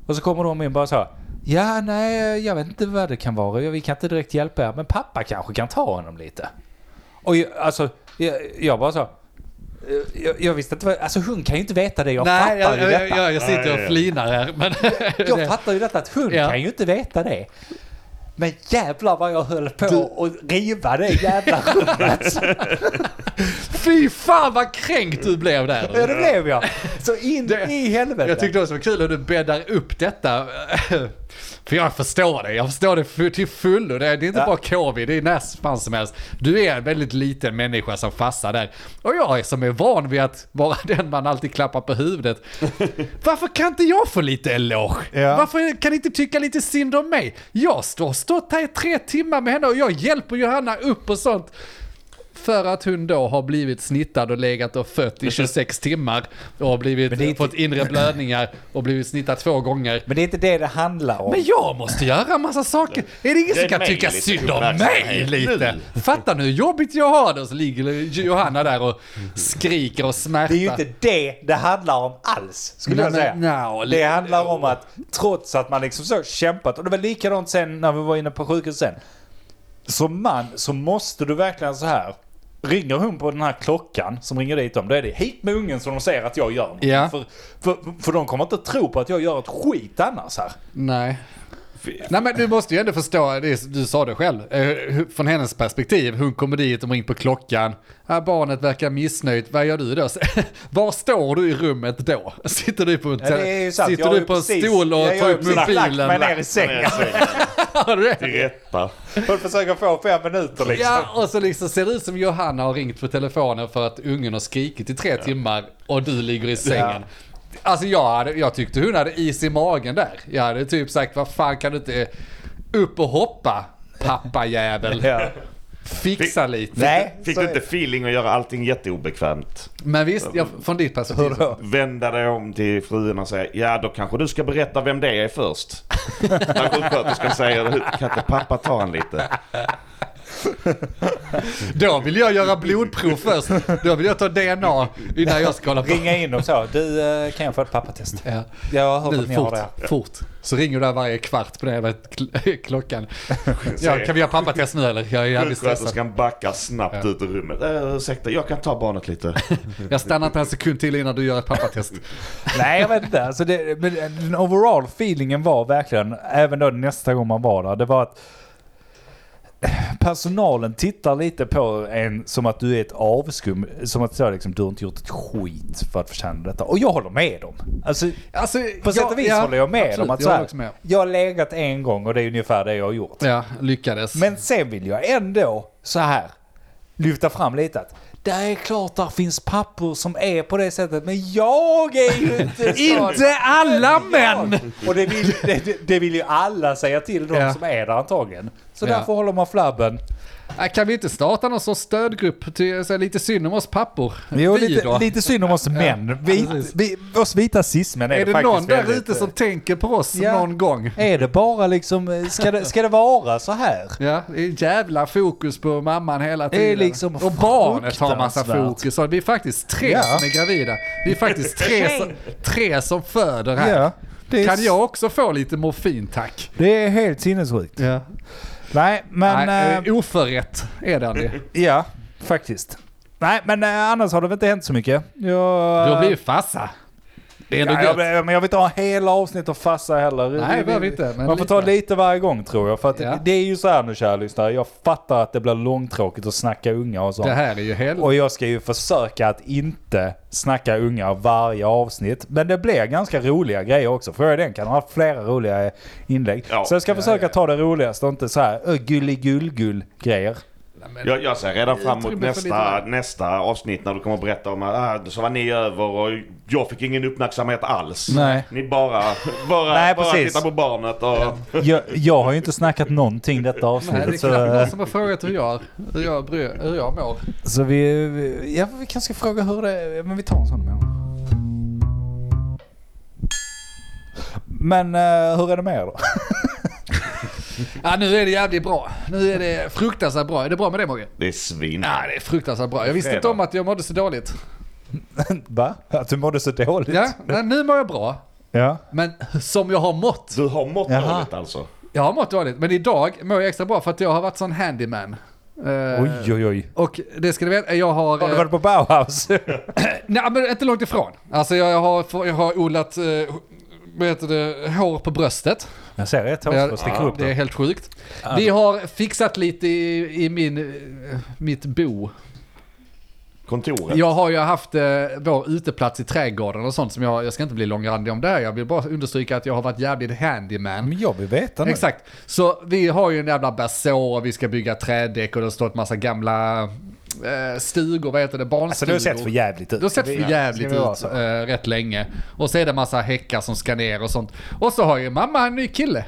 C: Och så kommer de in bara så här, ja nej jag vet inte vad det kan vara, vi kan inte direkt hjälpa er, men pappa kanske kan ta honom lite. Och jag, alltså, jag, jag bara så, eh, jag, jag visste inte vad, alltså hon kan ju inte veta det, jag
A: Nej,
C: fattar
A: jag,
C: ju detta.
A: jag, jag, jag sitter
D: Nej,
A: och
D: ja.
A: flinar här. Men [laughs]
C: Jag fattar ju detta att hund
A: Ja.
C: kan ju inte veta det. Men jävlar vad jag höll på att riva det jävla [laughs] rummet.
A: Fy fan vad kränkt du blev
C: ja,
A: där.
C: det blev jag. Så in
A: Det-
C: i helvete.
A: Jag tyckte också det var kul hur du bäddar upp detta. [laughs] För jag förstår det, jag förstår det fu- till fullo. Det är det är inte
C: Ja.
A: bara covid, det är när fan som helst. Du är en väldigt liten människa som fastnar där. Och jag är som är van vid att vara [laughs] den man alltid klappar på [laughs] huvudet. Varför kan inte jag få lite eloge?
C: Ja.
A: Varför kan ni inte tycka lite synd om mig? Jag står stått här i tre timmar med henne och jag hjälper Johanna upp och sånt. För att hon då har blivit snittad och legat och fött i 26 timmar och har blivit,
C: Men det är inte-
A: fått inre blödningar och blivit snittad två gånger.
C: Men det är inte det det handlar om.
A: Men jag måste göra en massa saker. Är det ingen
D: Det
A: som
D: är
A: kan
D: mig
A: tycka
D: lite
A: synd om
D: uppmärksamhet
A: mig
D: nu.
A: lite? Fattar ni hur jobbigt jag har det? Och så ligger Johanna där och skriker och
C: det
A: smärtar.
C: är ju inte det det handlar om alls, skulle
A: Nej,
C: jag säga.
A: men, nja,
C: det handlar om att trots att man liksom så kämpat, och det var likadant sen när vi var inne på sjukhusen. Som man så måste du verkligen så här. Ringer hon på den här klockan som ringer dit dem, då är det hit med ungen som de säger att jag gör. något.
A: Ja.
C: För, för, för de kommer inte att tro på att jag gör ett skit annars här.
A: Nej. Nej men du måste ju ändå förstå, det, är- du sa det själv, eh, hur- från hennes perspektiv, hon kommer dit, de ringer på klockan, ah, barnet verkar missnöjt, vad gör du då? [laughs] Var står du i rummet då? [laughs] Sitter du på en,
C: Ja, det är ju sant. Jag
A: sitter
C: har
A: du
C: ju
A: på en
C: precis-
A: stol och
C: jag har
A: tar
C: ju
A: upp
C: precis lagt mig
A: mobilen?
C: ner i sängen.
A: [laughs] Har du det?
C: [laughs]
D: Räppar.
C: Hon försöker få fem
A: [laughs]
C: minuter liksom.
A: Ja, och så liksom ser det ut som Johanna har ringt på telefonen för att ungen har skrikit i tre timmar och du ligger i sängen. Alltså jag, hade, jag tyckte hon hade is i magen där. Jag hade typ sagt, vad fan kan du inte upp och hoppa pappajävel.
C: Ja.
A: Fixa lite.
C: Nej,
D: Fick
C: så
D: du
C: är
D: inte
C: det.
D: feeling att göra allting jätteobekvämt?
A: Men visst, jag, från ditt perspektiv.
C: Hur då?
D: Vända dig om till frun och säga ja då kanske du ska berätta vem det är
A: [laughs]
D: först. När sjuksköterskan säger kan inte pappa ta han lite?
A: Då vill jag göra blodprov först. Då vill jag ta DNA innan jag ska hålla på.
C: Ringa in och så. Du, eh, kan jag få ett pappatest?
A: Ja.
C: Jag har hört att
A: Nu,
C: ni har
A: fort,
C: det.
A: fort. Så ringer du där varje kvart på den jävla kl- [laughs]
C: [laughs]
A: klockan. Ja, kan vi göra pappatest nu eller? Jag är jävligt stressad.
D: Sjuksköterskan backar snabbt
A: Ja.
D: ut ur rummet. Äh, ursäkta, jag kan ta barnet lite.
A: Jag stannar inte en sekund till innan du gör ett pappatest.
C: Nej, jag vet inte. Alltså det, men den overall feelingen var verkligen, även då nästa gång man var där, det var att eh, personalen tittar lite på en som att du är ett avskum. Som att så liksom, du har inte gjort ett skit för att förtjäna detta. Och jag håller med dem. Alltså,
A: [laughs] Alltså,
C: på sätt och vis håller jag med
A: absolut,
C: dem. Att
A: jag
C: så
A: håller
C: här,
A: också med.
C: jag har legat en gång och det är ungefär det jag har gjort.
A: Ja, lyckades.
C: Men sen vill jag ändå så här lyfta fram lite att det är klart där finns pappor som är på det sättet men jag är [laughs] ju inte sån.
A: inte alla
C: Jag.
A: män!
C: Och det vill, det, det vill ju alla säga till de
A: Ja.
C: som är där antagligen. Så
A: Ja.
C: därför håller man flabben.
A: Äh, Kan vi inte starta någon sorts stödgrupp? Till, så här, lite synd om oss pappor.
C: Jo,
A: vi
C: lite,
A: då?
C: lite synd om oss män. Vi,
A: precis.
C: vi, oss vita cis-män är,
A: är det
C: faktiskt
A: någon där
C: väldigt, eh,
A: ute som tänker på oss
C: Ja.
A: någon gång?
C: Är det bara liksom, ska det, ska det vara så här?
A: Ja, det är jävla fokus på mamman hela
C: Det är
A: tiden.
C: liksom
A: och barnet har massa
C: fruktansvärt.
A: fokus. Och vi är faktiskt tre
C: Ja.
A: som är gravida. Vi är faktiskt tre,
C: [laughs]
A: som, tre som föder här.
C: Det är,
A: Kan jag också få lite morfin tack?
C: Det är helt sinnessjukt.
A: Ja.
C: Nej, men...
A: Nej,
C: eh,
A: eh, oförrätt är
C: [laughs]
A: den ju.
C: ja, faktiskt. Nej, men eh, annars har det väl inte hänt så mycket. Jag, eh,
A: Du har blivit farsa. Det är ändå
C: ja,
A: gött.
C: jag, jag- men jag vill inte ha hela avsnitt av Fassa heller.
A: Nej,
C: Vi-
A: behöver inte, men
C: man får ta
A: lite.
C: lite varje gång tror jag. För att
A: Ja.
C: det är ju så här nu kära lyssnare. Jag fattar att det blir långtråkigt att snacka unga och sånt.
A: Det här är ju hel...
C: Och jag ska ju försöka att inte snacka unga varje avsnitt. Men det blir ganska roliga grejer också. För jag den kan ha flera roliga inlägg.
D: Ja.
C: Så jag ska
A: Ja,
C: försöka
A: ja, ja.
C: ta det roligaste och inte så här ö, gulligull grejer.
D: Jag, jag ser redan fram emot
A: tror det blir för
D: nästa,
A: lite.
D: nästa avsnitt när du kommer att berätta om att ah, så var ni över och jag fick ingen uppmärksamhet alls.
C: Nej.
D: Ni bara, bara,
C: Nej,
D: bara
C: precis.
D: tittar på barnet och...
C: Jag, jag har ju inte snackat någonting detta
A: Nej, det är
C: avsnittet.
A: knappt någon
C: Så, eh,
A: som har frågat hur jag, hur jag, bry, hur jag mår.
C: så vi, vi- ja, vi kanske ska fråga hur det Men vi tar en sån med honom. Men eh, hur är det med er då? [laughs]
A: Ja, nu är det jävligt bra. Nu är det fruktansvärt bra. Är det bra med det Mogge?
D: Det är svin.
A: Ja, det är fruktansvärt bra. Jag visste inte
D: Fredag.
A: om att jag mådde så dåligt.
C: Va? Att du mådde så dåligt?
A: Ja, nej, nu mår jag bra.
C: ja.
A: Men som jag har mått.
D: Du har mått
C: Jaha.
D: dåligt alltså?
A: Jag har mått dåligt, men idag mår jag extra bra för att jag har varit sån handyman. Eh,
C: Oj, oj, oj.
A: Och det ska du veta, jag har...
C: Har du
A: eh,
C: varit på Bauhaus? [laughs]
A: Nej, men inte långt ifrån. Alltså jag har, jag har odlat, eh, vad heter det, hår på bröstet.
C: Jag ser ett hår som sticker upp
A: det är
C: där.
A: helt sjukt. Vi har fixat lite i, i min, eh, mitt bo.
D: Kontoret?
A: Jag har ju haft eh, vår uteplats i trädgården och sånt som jag, jag ska inte bli långrandig om det här. Jag vill bara understryka att jag har varit jävligt handyman.
C: Men jag vill veta nu.
A: Exakt. Så vi har ju en jävla berså och vi ska bygga trädäck och det står ett massa gamla eh, stugor, vad heter det, barnstugor.
C: Alltså det har sett för jävligt ut.
A: Det har sett
C: Ska
A: för
C: vi-
A: jävligt
C: ska vi vara
A: ut
C: så?
A: eh, rätt länge. Och så är det massa häckar som ska ner och sånt. Och så har ju mamma en ny kille.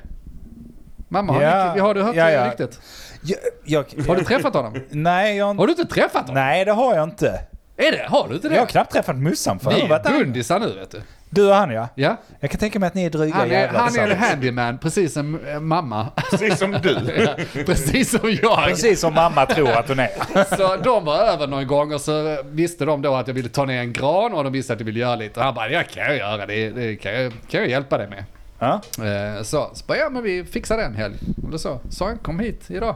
A: Mamma har
C: Ja.
A: en ny kille. Har du hört
C: Ja,
A: det
C: ja.
A: ryktet?
C: Jag, jag,
A: Har du träffat honom?
C: nej, jag, har
A: Har
C: inte-
A: du inte träffat honom?
C: nej, det har jag inte.
A: Är det? Har du inte det?
C: Jag har knappt träffat Mussan för
A: Ni
C: jag har varit
A: är
C: där.
A: bundisar nu vet du.
C: Du och han ja.
A: Ja.
C: Jag kan tänka mig att ni är dryga
A: Han är,
C: jävlar
A: han är en
C: tillsammans.
A: handyman, precis som eh, mamma. [laughs]
D: Precis som du.
A: precis som
C: [laughs]
A: jag.
C: Precis som mamma tror
A: [laughs]
C: att hon är.
A: Så de var över någon gång och så eh, visste de då att jag ville ta ner en gran och de visste att jag ville göra lite. Och han bara, jag kan jag göra, det, det kan, jag, kan jag hjälpa dig med.
C: Ja.
A: Eh, Så, så bara, ja men vi fixar den helg. Och då så, sa han kom hit idag.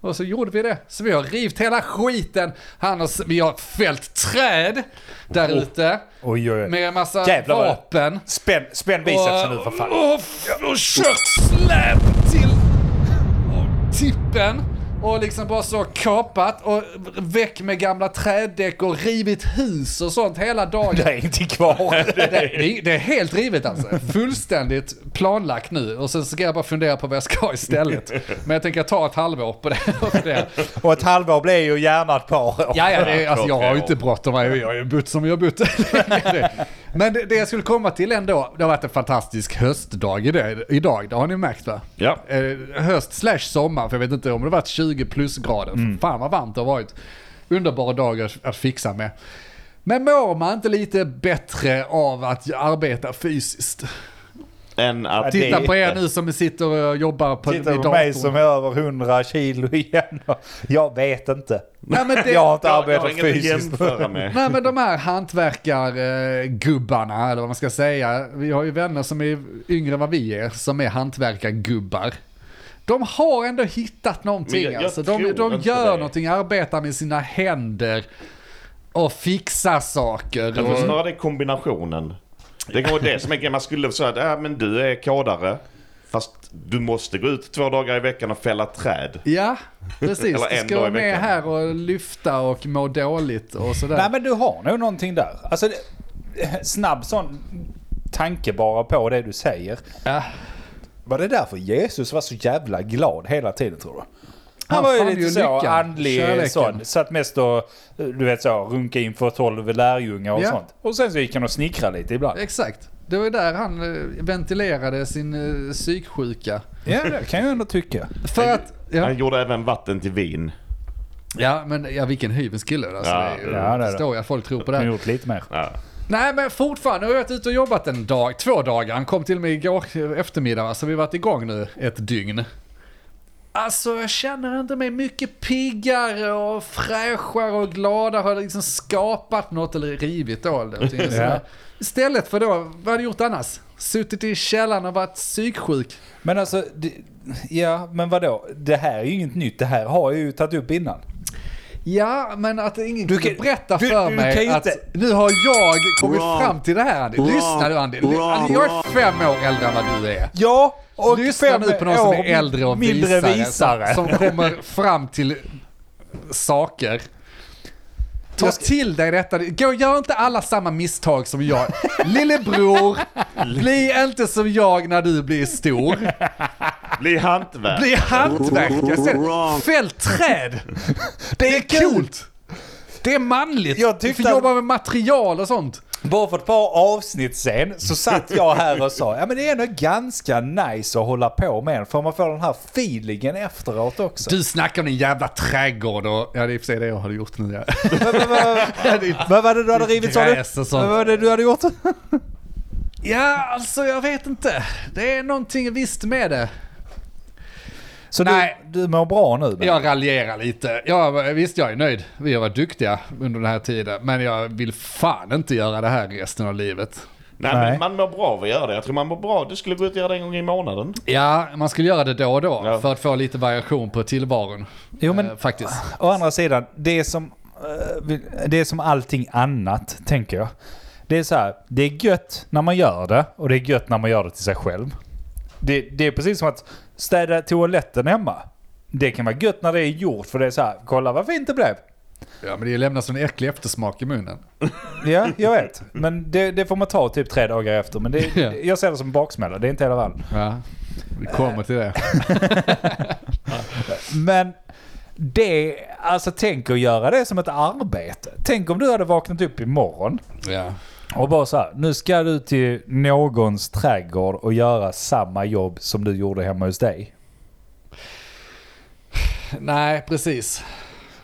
A: Och så gjorde vi det. Så vi har rivit hela skiten. Han har, s- vi har fällt träd där ute.
C: Oj, oj, oj.
A: Med en massa
C: Jävlar vad-
A: vapen.
C: Spänn, spänn bicepsen nu för fan.
A: Och, och, f- och kört släp till och tippen. Och liksom bara så kapat och väck med gamla trädäck och rivit hus och sånt hela dagen.
C: [laughs] Det är ingenting
A: [laughs]
C: [laughs] kvar.
A: Det, det, det är helt rivet alltså. Fullständigt planlagt nu. Och sen ska jag bara fundera på vad jag ska ha istället. Men jag tänker ta ett halvår på det. [laughs] och fundera.
C: Och ett halvår blir ju gärna ett par år.
A: Ja, ja, det, är- alltså, jag har ju inte bråttom. Jag jag har ju bott som jag har
C: [laughs]
A: bott. Men det, det jag skulle komma till ändå, det har varit en fantastisk höstdag i det- idag. Det har ni märkt va?
D: Ja.
A: Eh, höst slash sommar, för jag vet inte om det varit 20 plus grader.
C: Mm.
A: Fan vad varmt det har varit. Underbara dagar att fixa med. Men mår man inte lite bättre av att arbeta fysiskt?
D: Än att...
C: det-
A: Titta på er nu som sitter och jobbar på
C: Titta
A: i
C: på mig
A: datorn.
C: som är över 100 kilo igen. Jag vet inte.
A: Nej, men det-
C: Jag har inte
D: Jag, jag har
C: arbetat
D: inget att
C: fysiskt.
D: jämföra
E: [laughs]
D: med.
A: Nej men de här hantverkargubbarna, eller vad man ska säga. Vi har ju vänner som är yngre än vad vi är, som är hantverkargubbar. De har ändå hittat
D: Men
A: någonting
D: jag- jag
A: alltså. De,
D: tror
A: de
D: inte
A: gör
D: det.
A: någonting, arbetar med sina händer och fixar saker.
D: Jag tror
A: Och,
D: snarare det är kombinationen. Det kan vara det som är grejen. Man skulle säga att äh, men du är kodare. Fast du måste gå ut två dagar i veckan och fälla träd.
A: ja, precis.
D: Eller en
A: Du ska
D: dag i
A: vara med
D: veckan.
A: här och lyfta och må dåligt och sådär.
C: Nej men du har nog någonting där. Alltså det- [laughs] snabb sån tanke bara på det du säger.
A: Ja.
C: Var det därför Jesus var så jävla glad hela tiden tror du? Han,
A: Han
C: var ju
A: fann
C: lite
A: ju
C: så
A: lyckan,
C: andlig
A: kärleken.
C: sån. Satt mest och du vet så runka inför tolv lärjungar och
A: Ja.
C: sånt. Och sen så gick han och snickrade lite ibland.
A: Exakt. Det var ju där han eh, ventilerade sin eh, psyksjuka.
C: Ja, det kan jag ändå tycka.
A: För att... Ja,
E: Han gjorde även vatten till vin.
A: ja men ja, vilken hyvens kille. Alltså,
E: Ja,
A: det är ju-
C: ja, det är det.
A: förstår jag, folk tror på det.
C: Han
A: här.
C: har gjort lite mer.
E: Ja.
A: Nej men fortfarande, nu har jag varit ute och jobbat en dag, två dagar. Han kom till mig igår eftermiddag, va, så vi har varit igång nu ett dygn. Alltså jag känner inte mig mycket piggare och fräschare och gladare. Har liksom skapat något eller rivit av det. någonting sådär.
C: [laughs] Ja.
A: Istället för då, vad hade jag gjort annars? Suttit i källaren och varit psyksjuk.
C: Men alltså, det, ja, men vadå? Det här är ju inget nytt. Det här har jag ju tagit upp innan.
A: Ja, men att ingen
C: Du
A: du kan,
C: kan-
A: berätta
C: du-
A: för
C: du
A: mig
C: kan ju
A: att
C: inte-
A: nu har jag kommit
E: Wrong.
A: fram till det här Andy. Lyssna du Andy.
E: Wrong.
A: Alltså, jag är fem år äldre än vad du är.
C: Ja, och
A: Lyssna
C: fem
A: nu på någon som
C: år
A: är äldre och
C: mindre
A: visare,
C: visare.
A: Som, som
C: [laughs]
A: kommer fram till saker. Ta
C: Jag ska-
A: till dig detta. Gå, gör inte alla samma misstag som jag. Lillebror, bli inte som jag när du blir stor.
E: Bli hantverk.
A: Bli hantverkare
E: Wrong.
A: istället. Fäll träd. Det är coolt. Det är manligt.
C: Jag
A: du
C: tyckte
A: får
C: att-
A: jobba med material och sånt.
C: Bara för ett par avsnitt sen så satt jag här och sa ja men det är ändå ganska nice att hålla på med en, för man får den här feelingen efteråt också.
A: Du snackar om din jävla trädgård och... Ja, det är i och för sig det jag hade gjort nu. Ja.
C: Vad- vad- vad- Vad var det du hade rivit sa du?
A: Gräs och sånt.
C: Vad var det du hade gjort?
A: ja, alltså jag vet inte. Det är någonting visst med det.
C: Så
A: Nej.
C: Du, du mår bra nu? men-
A: Jag raljerar lite. Ja, visst, jag är nöjd. Vi har varit duktiga under den här tiden. Men jag vill fan inte göra det här resten av livet.
E: Nej,
C: Nej.
E: men man mår bra av att göra det. Jag tror man mår bra. Du skulle gå ut och göra det en gång i månaden.
A: Ja, man skulle göra det då och då
E: Ja.
A: för att få lite variation på tillvaron.
C: Jo, men-
A: eh, faktiskt.
C: Å andra sidan, det är som, eh, vi- det är som allting annat, tänker jag. Det är så här, det är gött när man gör det och det är gött när man gör det till sig själv. Det, det är precis som att städa toaletten hemma. Det kan vara gött när det är gjort för det är så här, kolla vad fint det blev.
A: Ja, men det lämnas en äcklig eftersmak i munnen.
C: Ja, jag vet. Men det, det får man ta typ tre dagar efter. Men det,
A: Ja.
C: jag ser det som baksmälla, det är inte hela världen.
A: Ja, vi kommer till det.
C: Men det, alltså tänk att göra det som ett arbete. Tänk om du hade vaknat upp imorgon
A: Ja.
C: Och bara så här, nu ska du till någons trädgård och göra samma jobb som du gjorde hemma hos dig.
A: Nej, precis.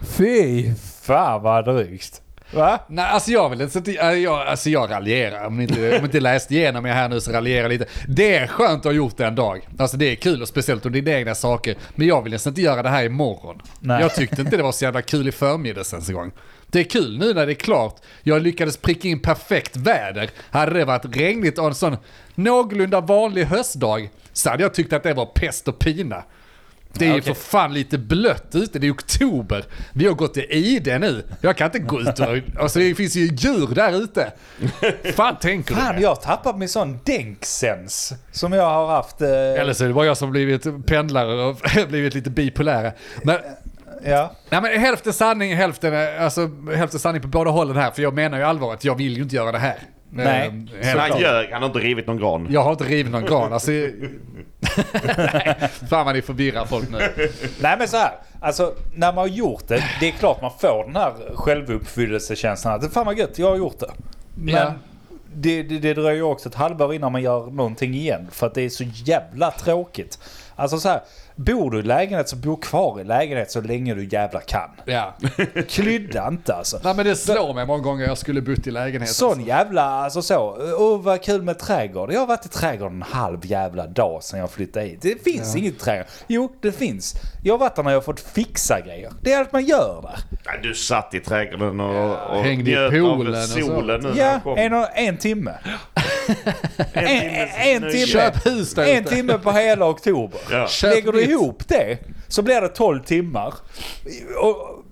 C: Fy fan vad drygt. Va?
A: Nej, alltså jag vill inte... sätta- äh, Jag, alltså jag raljerar. Om ni inte, om ni inte läst igenom er här nu så raljerar jag lite. Det är skönt att ha gjort det en dag. Alltså det är kul och speciellt om det är dina egna saker. Men jag vill nästan inte göra det här imorgon.
C: Nej.
A: Jag tyckte inte det var så jävla kul i förmiddags ens en gång. Det är kul nu när det är klart. Jag lyckades pricka in perfekt väder. Hade det varit regnigt och en sån någorlunda vanlig höstdag så hade jag tyckt att det var pest och pina. Det är ju för fan lite blött ute, det är oktober. Vi har gått i ide nu. Jag kan inte gå ut och... Alltså det finns ju djur där ute. Fan tänker du?
C: Fan,
A: med?
C: jag har tappat min sån dänksens som jag har haft. Eh,
A: Eller så är det bara jag som blivit pendlare och [laughs] blivit lite bipolär. Men
C: ja.
A: Nej men hälften sanning, hälften, eh, alltså, hälften sanning på båda hållen här. För jag menar ju allvar att jag vill ju inte göra det här.
C: Nej,
A: Ehm,
C: så
A: hela-
E: Men han
C: klart.
E: ljög. Han har inte rivit någon gran.
A: jag har inte rivit någon gran. Alltså, nej, fan vad ni förvirrar folk nu.
C: Nej men så här, alltså när man har gjort det, det är klart man får den här självuppfyllelsekänslan. att, Fan vad gött, jag har gjort det. Men
A: Ja.
C: det, det, det dröjer ju också ett halvår innan man gör någonting igen. För att det är så jävla tråkigt. Alltså så här, bor du i lägenhet så bo kvar i lägenhet så länge du jävla kan.
A: Ja.
C: Klydda inte alltså.
A: Nej men det slår mig många gånger jag skulle bott i lägenhet.
C: Sån jävla, alltså så. Åh vad kul med trädgård. Jag har varit i trädgården en halv jävla dag sedan jag flyttade hit. Det finns inget trädgård. Jo, det finns. Jag har varit där när jag har fått fixa grejer. Det är allt man gör där.
E: Nej, du satt i trädgården och, och
A: Hängde i
E: njöt
A: poolen
E: av
A: och
E: solen nu när
C: Ja,
E: den kom.
C: en, och- en timme. en, en, en timme.
A: Köp hus där
C: En
A: ute.
C: timme på hela oktober.
E: Ja.
A: Köp
C: Lägger du
A: nytt.
C: ihop det så blir det 12 timmar. Och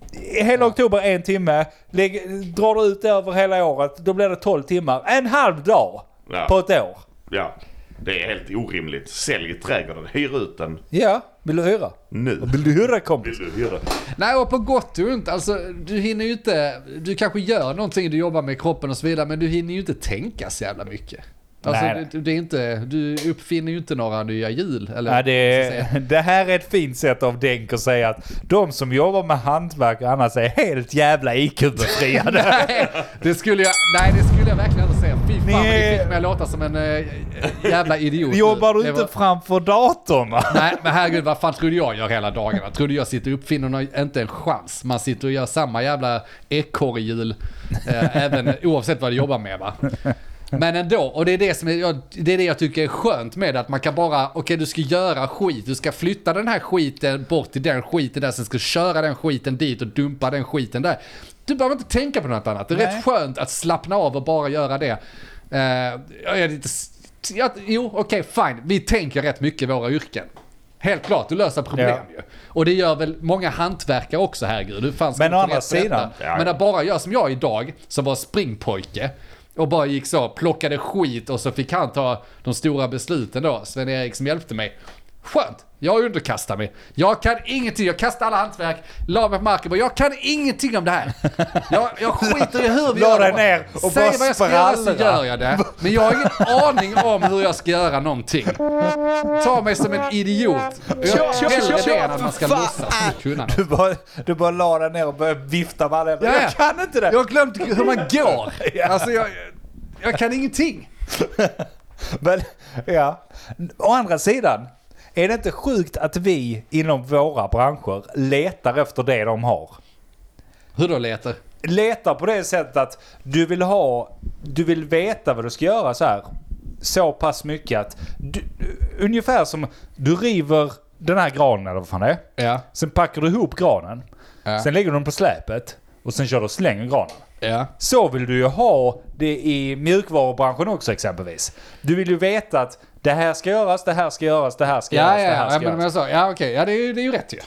C: hela oktober en timme. Lägg, drar du ut det över hela året då blir det 12 timmar. En halv dag
E: Ja.
C: på ett år.
E: Ja. Det är helt orimligt. Sälj trädgården. Hyr ut den
C: Ja, vill du hyra?
E: nu.
C: Vill du hyra kompis?
E: Vill du hyra?
A: Nej och på gott och ont, alltså du hinner ju inte, du kanske gör någonting, du jobbar med kroppen och så vidare, men du hinner ju inte tänka så jävla mycket. Alltså
C: Nej.
A: det, det är inte, du uppfinner ju inte några nya hjul. Eller,
C: Ja, det,
A: så att säga. [laughs]
C: är, det här är ett fint sätt av Denk att säga att de som jobbar med hantverk och annars är helt jävla IQ-befriade.
A: [laughs] Nej, det skulle jag, nej, det skulle jag verkligen inte säga. Fy
C: Ni
A: Fan vad ni
C: är-
A: fick mig att låta som en eh, jävla idiot. nu.
C: Jobbar du
A: Det
C: inte
A: var-
C: framför datorn? va?
A: Nej, men herregud, vad fan trodde jag gör hela dagarna? Trodde jag sitter och uppfinner något, inte en chans. Man sitter och gör samma jävla ekorrhjul, eh, även oavsett vad du jobbar med va. Men ändå, och det är det, som jag, det är det jag tycker är skönt med det, att man kan bara, okej du ska göra skit, du ska flytta den här skiten bort till den skiten där, sen ska du köra den skiten dit och dumpa den skiten där. Du behöver inte tänka på något annat, det är
C: Nej.
A: rätt skönt att slappna av och bara göra det. Eh, jag är lite, s- jag, jo, okej fine, vi tänker rätt mycket i våra yrken. Helt klart, du löser problem
C: Ja.
A: ju. Och det gör väl många hantverkare också, herregud. Du fanns
C: Men å andra sidan,
E: ja.
A: Men att bara jag som jag idag, som var springpojke och bara gick så, plockade skit och så fick han ta de stora besluten då, Sven-Erik som hjälpte mig. Skönt, jag underkastar mig. Jag kan ingenting, jag kastade alla hantverk, la mig på marken och bara, jag kan ingenting om det här. Jag, jag skiter i hur vi
C: La
A: gör
C: dig
A: det.
C: ner och
A: Säg
C: bara
A: vad jag ska göra så
C: sprallra.
A: gör jag det. Men jag har ingen aning om hur jag ska göra någonting. Ta mig som en idiot. Jag hellre det än att man ska låtsas att kunna något.
C: Ah. Du bara, du bara la dig ner och började vifta med armarna.
A: Ja, ja.
C: Jag kan inte det!
A: Jag har glömt hur man går. Alltså jag, jag kan ingenting.
C: [laughs] Men, ja. Å andra sidan, är det inte sjukt att vi inom våra branscher letar efter det de har?
A: Hur då Leter?
C: Letar på det sättet att du vill ha, du vill veta vad du ska göra så här. Så pass mycket att, du, ungefär som du river den här granen eller vad fan det är.
A: Ja,
C: Sen packar du ihop granen.
A: Ja.
C: Sen lägger du den på släpet. Och sen kör du och slänger granen.
A: ja.
C: Så vill du ju ha det i mjukvarubranschen också exempelvis. Du vill ju veta att det här ska göras, det här ska göras, det här ska
A: Ja,
C: göras,
A: ja,
C: det här
A: ja,
C: ska
A: men, men
C: göras.
A: jag sa, ja okej, ja det är, ju- det är ju rätt ju.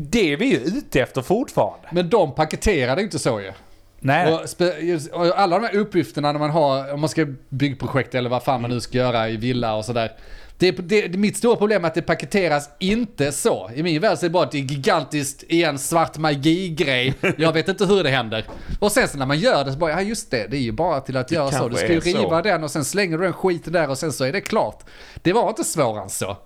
C: Det är vi ju ute efter fortfarande.
A: Men de paketerade ju inte så ju.
C: Nej,
A: Och, spe- och alla de här uppgifterna när man har, om man ska byggprojekt eller vad fan man nu ska göra i villa och sådär. Det, är- det, det, mitt stora problem är att det paketeras inte så. I min värld så är det bara att det är gigantiskt, igen, svart magi-grej. Jag vet inte hur det händer. Och sen så när man gör det så bara, ja just det, det är ju bara till att göra så. Du
E: kanske
A: ska ju
E: är så.
A: riva den och sen slänger du den skiten där och sen så är det klart. Det var inte svårare än så.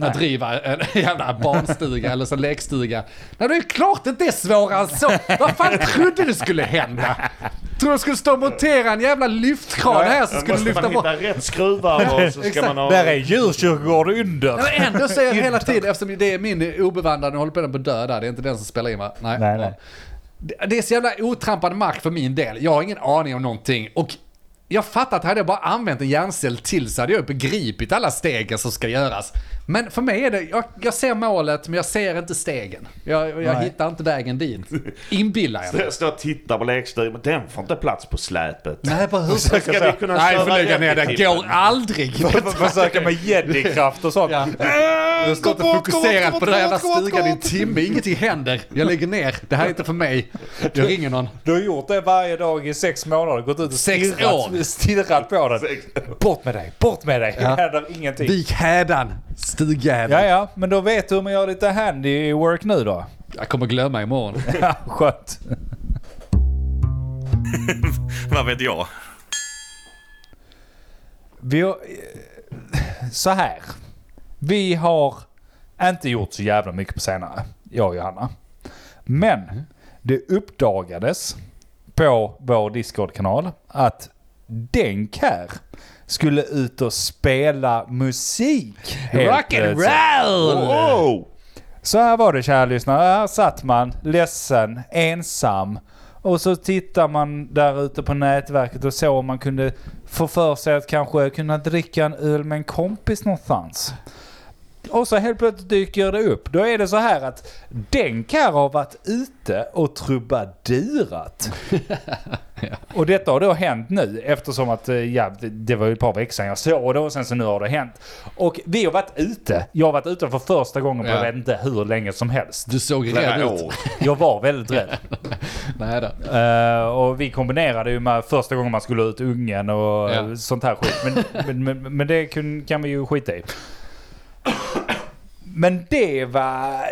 A: Att riva en [laughs] jävla barnstuga eller så lekstuga. Nej, det är klart att det är svårare än så. Vad fan trodde du skulle hända? Tror du skulle stå och montera en jävla lyftkran här som skulle
E: Måste
A: lyfta
E: man
A: bort?
E: hitta rätt skruvar
A: [laughs]
E: och så ska man ha...
C: där är djurkyrkogård under.
A: Men ändå säger jag hela tiden, eftersom det är min obevandrade, nu håller på den på att dö där, det är inte den som spelar in va? Nej.
C: Nej, nej.
A: Det- Det är så jävla otrampad mark för min del, jag har ingen aning om någonting. Och jag fattar att hade jag bara använt en hjärncell till så hade jag begripit alla stegen som ska göras. Men för mig är det, jag, jag ser målet men jag ser inte stegen. Jag, jag
C: Nej.
A: hittar inte vägen dit. Inbillar jag mig.
E: Jag står och tittar på lekstugan, men den får inte plats på släpet.
A: [laughs]
E: [laughs]
A: Nej, bara hur
E: Ska vi kunna
A: Nej,
E: köra
A: får lägga
E: igen
A: ner
E: i
A: den.
E: tippen?
A: Går [laughs] aldrig.
C: [laughs] Försöka med
E: [laughs]
C: jedikraft och sånt.
A: Ja. Jag har stått och fokuserat på den här jävla stugan i en timme. Ingenting händer. Jag lägger ner. Det här är inte för mig. Jag ringer någon.
C: Du har gjort det varje dag i sex månader. Gått ut och
A: Sex år.
C: stirrat, stirrat på den. Bort med dig, bort med dig.
A: Ja.
C: Det händer ingenting.
A: Vik hädan, stugjävel.
C: Ja, ja, men då vet du hur man gör lite handywork
A: [laughs]
C: nu då.
A: Jag kommer glömma imorgon.
C: Ja, skönt.
D: Vad vet jag?
C: Vi har, eh, så här. Vi har inte gjort så jävla mycket på senare, jag och Johanna.
A: Mm.
C: Men det uppdagades på vår Discord-kanal att Denk här skulle ut och spela musik. helt eh,
A: Rock and
C: plötsligt.
A: roll!
E: Wow!
C: Så här var det kära lyssnare. Här satt man ledsen, ensam. Och så tittar man där ute på nätverket och så om man kunde få för sig att kanske kunna dricka en öl med en kompis någonstans. Och så helt plötsligt dyker det upp. Då är det så här att Denk här har varit ute och trubadurat. Och detta har då hänt nu eftersom att eh, ja, det- det var ju ett par veckor sedan jag såg det och sen så nu har det hänt. Och vi har varit ute. Jag har varit ute för första gången på
A: Ja.
C: jag vet inte hur länge som helst. [laughs]
A: Du såg
E: Flera
A: rädd ut.
E: år.
C: Jag var väldigt rädd.
A: Nej då.
C: Eh, och vi kombinerade ju med första gången man skulle ut ungen och
A: Ja.
C: sånt här skit. Men, men, men, men det kun, kan vi ju skita i. Men det var,